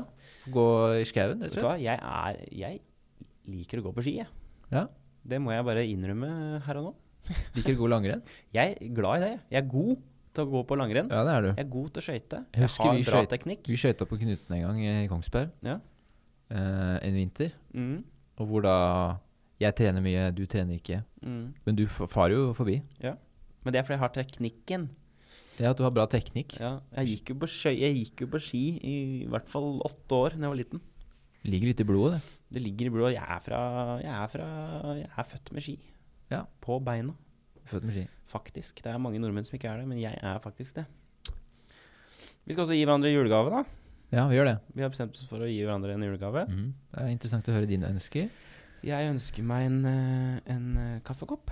Speaker 2: Gå i skauen, rett og
Speaker 1: Vet du hva,
Speaker 2: slett.
Speaker 1: jeg er Jeg liker å gå på ski, jeg.
Speaker 2: Ja.
Speaker 1: Det må jeg bare innrømme her og nå.
Speaker 2: Liker du god langrenn?
Speaker 1: Jeg er glad i det. Jeg er god til å gå på langrenn.
Speaker 2: Ja, det er du.
Speaker 1: Jeg er god til å skøyte.
Speaker 2: Jeg
Speaker 1: Jeg
Speaker 2: husker
Speaker 1: har
Speaker 2: vi
Speaker 1: bra
Speaker 2: skøyt-
Speaker 1: teknikk.
Speaker 2: Vi skøyta på Knuten en gang i Kongsberg
Speaker 1: Ja.
Speaker 2: eh, en vinter.
Speaker 1: Mm,
Speaker 2: Og hvor da Jeg trener mye, du trener ikke.
Speaker 1: mm.
Speaker 2: Men du f- farer jo forbi.
Speaker 1: Men det er fordi jeg har teknikken.
Speaker 2: Det at du har bra teknikk.
Speaker 1: Ja, jeg gikk jo på, skøy, jeg gikk jo på ski i hvert fall åtte år da jeg var liten.
Speaker 2: Ligger litt i blodet, det.
Speaker 1: Det ligger i blodet. Jeg er fra Jeg er, fra, jeg er født med ski.
Speaker 2: Ja.
Speaker 1: På beina,
Speaker 2: Født med ski.
Speaker 1: faktisk. Det er mange nordmenn som ikke er det, men jeg er faktisk det. Vi skal også gi hverandre julegave, da.
Speaker 2: Ja, vi gjør det.
Speaker 1: Vi har bestemt oss for å gi hverandre en julegave.
Speaker 2: Mhm. Det er interessant å høre dine ønsker.
Speaker 1: Jeg ønsker meg en, eh, en eh, kaffekopp.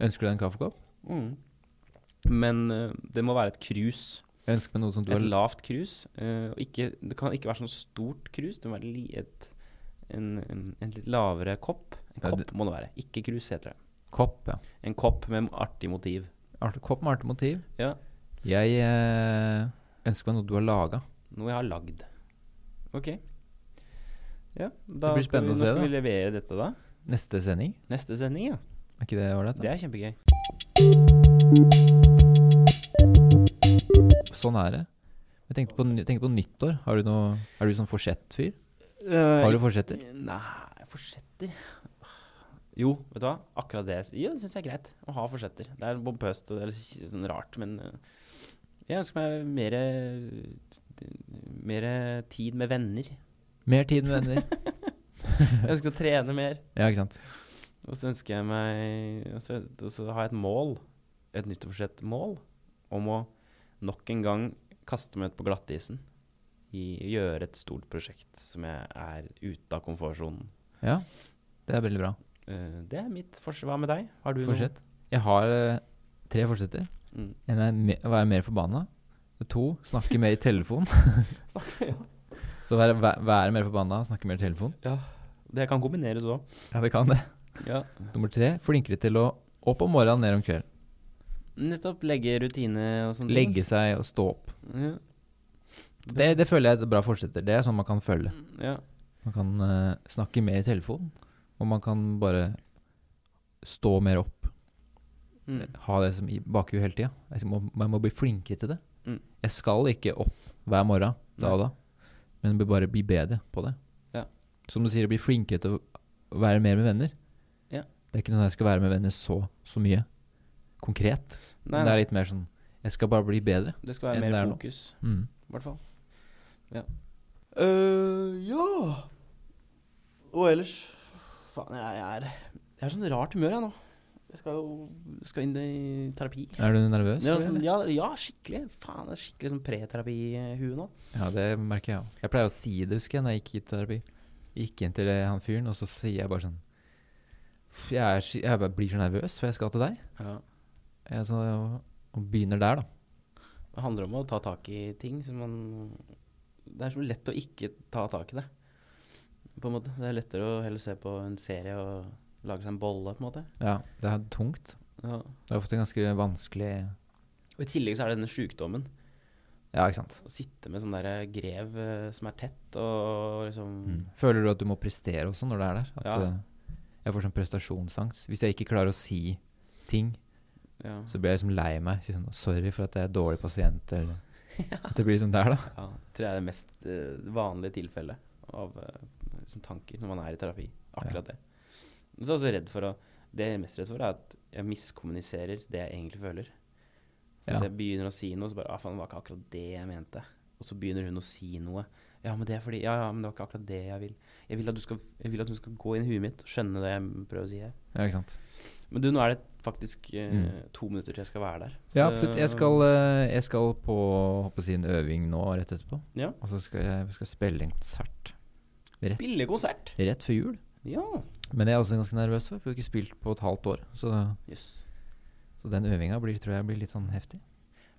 Speaker 2: Ønsker du deg en kaffekopp?
Speaker 1: Mm. Men eh, det må være et krus.
Speaker 2: Jeg ønsker meg noe som du har
Speaker 1: Et lavt krus. eh, og ikke, det kan ikke være sånn stort krus. Det må være li, et, en, en, en litt lavere kopp. En
Speaker 2: Ja,
Speaker 1: kopp
Speaker 2: det-
Speaker 1: må det være. Ikke krus, heter det.
Speaker 2: Kopp, ja.
Speaker 1: En kopp med artig motiv.
Speaker 2: Art, kopp med artig motiv.
Speaker 1: Ja.
Speaker 2: Jeg eh, ønsker meg noe du har laga.
Speaker 1: Noe jeg har lagd. Ok. Ja,
Speaker 2: Det
Speaker 1: da
Speaker 2: blir
Speaker 1: skal vi,
Speaker 2: spennende å
Speaker 1: nå
Speaker 2: se,
Speaker 1: skal
Speaker 2: da.
Speaker 1: vi levere dette, da.
Speaker 2: Neste sending.
Speaker 1: Neste sending, ja.
Speaker 2: Er ikke det ålreit? da?
Speaker 1: Det er kjempegøy.
Speaker 2: Sånn er det. Jeg tenkte på, ny- tenkte på nyttår. Har du noe, er du sånn forsett-fyr?
Speaker 1: Eh,
Speaker 2: Har du forsetter?
Speaker 1: Nei, forsetter Jo, vet du hva. Akkurat det Jo, det syns jeg er greit å ha forsetter. Det er bompøst og det er litt sånn rart, men eh, jeg ønsker meg mer Mer tid med venner.
Speaker 2: Mer tid med venner.
Speaker 1: Jeg ønsker å trene mer.
Speaker 2: Ja, ikke sant.
Speaker 1: Og så ønsker jeg meg Og så, og så har jeg et mål, et nyttårsforsett mål, om å nok en gang kaste meg ut på glattisen. I, gjøre et stort prosjekt som jeg er ute av komfortsonen.
Speaker 2: Ja, det er veldig bra.
Speaker 1: Eh, det er mitt forsett. Hva med deg? Har du noe?
Speaker 2: Forsett. Jeg har eh, tre forsetter.
Speaker 1: Mm.
Speaker 2: En er me å være mer forbanna. To snakke mer i telefon. Så være, væ- være mer forbanna, snakke mer i telefon.
Speaker 1: Det kan kombineres òg.
Speaker 2: Ja, det kan det.
Speaker 1: Ja.
Speaker 2: Nummer tre flinkere til å opp om morgenen, ned om kvelden.
Speaker 1: Nettopp. Legge rutine og sånne
Speaker 2: Legge seg og stå opp.
Speaker 1: ting. Ja.
Speaker 2: Det, det føler jeg er et bra forsetter. Det er sånn man kan følge.
Speaker 1: ja.
Speaker 2: Man kan eh, snakke mer i telefon, og man kan bare stå mer opp.
Speaker 1: Mm.
Speaker 2: ha det som i bakhuet hele tida. Jeg må, man må bli flinkere til det.
Speaker 1: Mm.
Speaker 2: Jeg skal ikke opp hver morgen da og da, men bør bare bli bedre på det.
Speaker 1: Ja.
Speaker 2: Som du sier, bli flinkere til å være mer med venner.
Speaker 1: Ja.
Speaker 2: Det er ikke sånn at jeg skal være med venner så, så mye konkret.
Speaker 1: Nei,
Speaker 2: men det
Speaker 1: nei,
Speaker 2: er litt mer sånn Jeg skal bare bli bedre.
Speaker 1: det skal være
Speaker 2: enn det er
Speaker 1: mer
Speaker 2: nå.
Speaker 1: fokus,
Speaker 2: Mm.
Speaker 1: i hvert fall. Ja. Eh, ja Og ellers Faen, jeg, er Jeg er sånn rart humør, jeg nå. Jeg skal jo skal inn i terapi.
Speaker 2: Er du nervøs?
Speaker 1: Ja,
Speaker 2: eller?
Speaker 1: sånn, ja, ja, skikkelig. Faen, det er skikkelig sånn preterapi-hue nå.
Speaker 2: Ja, det merker jeg òg. Jeg pleier å si det, husker jeg, når jeg gikk i terapi. Gikk inn til eh, han fyren, og så sier jeg bare sånn «Pff, Jeg, er, så- jeg bare blir så nervøs, for jeg skal til deg.
Speaker 1: Ja.
Speaker 2: Ja, så, og, og begynner der, da.
Speaker 1: Det handler om å ta tak i ting som man Det er så lett å ikke ta tak i det. På en måte. Det er lettere å heller se på en serie og lage seg en bolle, på en måte.
Speaker 2: Ja, det er tungt.
Speaker 1: Ja.
Speaker 2: Det er ofte ganske vanskelig
Speaker 1: Og I tillegg så er det denne sjukdommen.
Speaker 2: Ja, ikke sant.
Speaker 1: Å sitte med sånn der grev eh, som er tett, og liksom
Speaker 2: Mm. Føler du at du må prestere også når du er der? At
Speaker 1: Ja.
Speaker 2: eh, jeg får sånn prestasjonsangst. Hvis jeg ikke klarer å si ting,
Speaker 1: ja.
Speaker 2: så blir jeg liksom lei meg. Sier sånn, Sorry for at jeg er dårlig pasient, eller At det blir liksom der, da.
Speaker 1: ja. Jeg tror jeg er det mest eh, vanlige tilfellet av eh, som tanker når man er i terapi. Akkurat det. Men så er jeg også redd for å Det jeg er mest redd for, er at jeg miskommuniserer det jeg egentlig føler. Så
Speaker 2: Ja.
Speaker 1: at jeg begynner å si noe, så bare ah, faen, det var ikke akkurat det jeg mente. Og så begynner hun å si noe. Ja, men det er fordi Ja, ja, men det var ikke akkurat det jeg vil. Jeg vil at du skal, jeg vil at du skal gå inn i huet mitt og skjønne det jeg prøver å si her.
Speaker 2: Ja, ikke sant.
Speaker 1: Men du, nå er det faktisk eh,
Speaker 2: Mm.
Speaker 1: to minutter til jeg skal være der.
Speaker 2: Ja,
Speaker 1: Så-
Speaker 2: absolutt. Jeg skal, eh, jeg skal på håper å si en øving nå rett etterpå.
Speaker 1: Ja.
Speaker 2: Og så skal jeg vi skal spille en konsert rett.
Speaker 1: Spille konsert!
Speaker 2: rett før jul.
Speaker 1: Ja.
Speaker 2: Men det er jeg også ganske nervøs for, for jeg har ikke spilt på et halvt år. Så,
Speaker 1: Jøss.
Speaker 2: så den øvinga blir, tror jeg blir litt sånn heftig.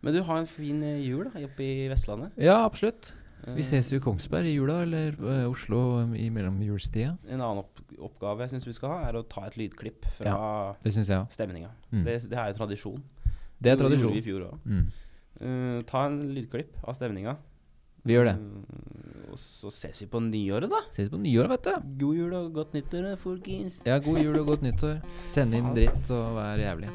Speaker 1: Men du har en fin eh, jul da, oppe i Vestlandet.
Speaker 2: Ja, absolutt.
Speaker 1: Eh,
Speaker 2: Vi ses jo i Kongsberg i jula, eller eh, Oslo eh, i mellomjulstida.
Speaker 1: Eh, En annen opp oppgave jeg syns vi skal ha, er å ta et lydklipp fra
Speaker 2: Det syns jeg òg.
Speaker 1: stemninga.
Speaker 2: Mm.
Speaker 1: Det, det er jo tradisjon.
Speaker 2: Det er
Speaker 1: gjorde- gjorde
Speaker 2: tradisjon.
Speaker 1: vi i fjor òg.
Speaker 2: Mm.
Speaker 1: ta en lydklipp av stemninga.
Speaker 2: Vi gjør det.
Speaker 1: Eh, og så ses vi på nyåret, da.
Speaker 2: Ses på nyåret, vet du.
Speaker 1: God jul og godt nyttår, eh, folkens.
Speaker 2: Ja, god jul og godt nyttår. Send inn dritt og vær jævlig.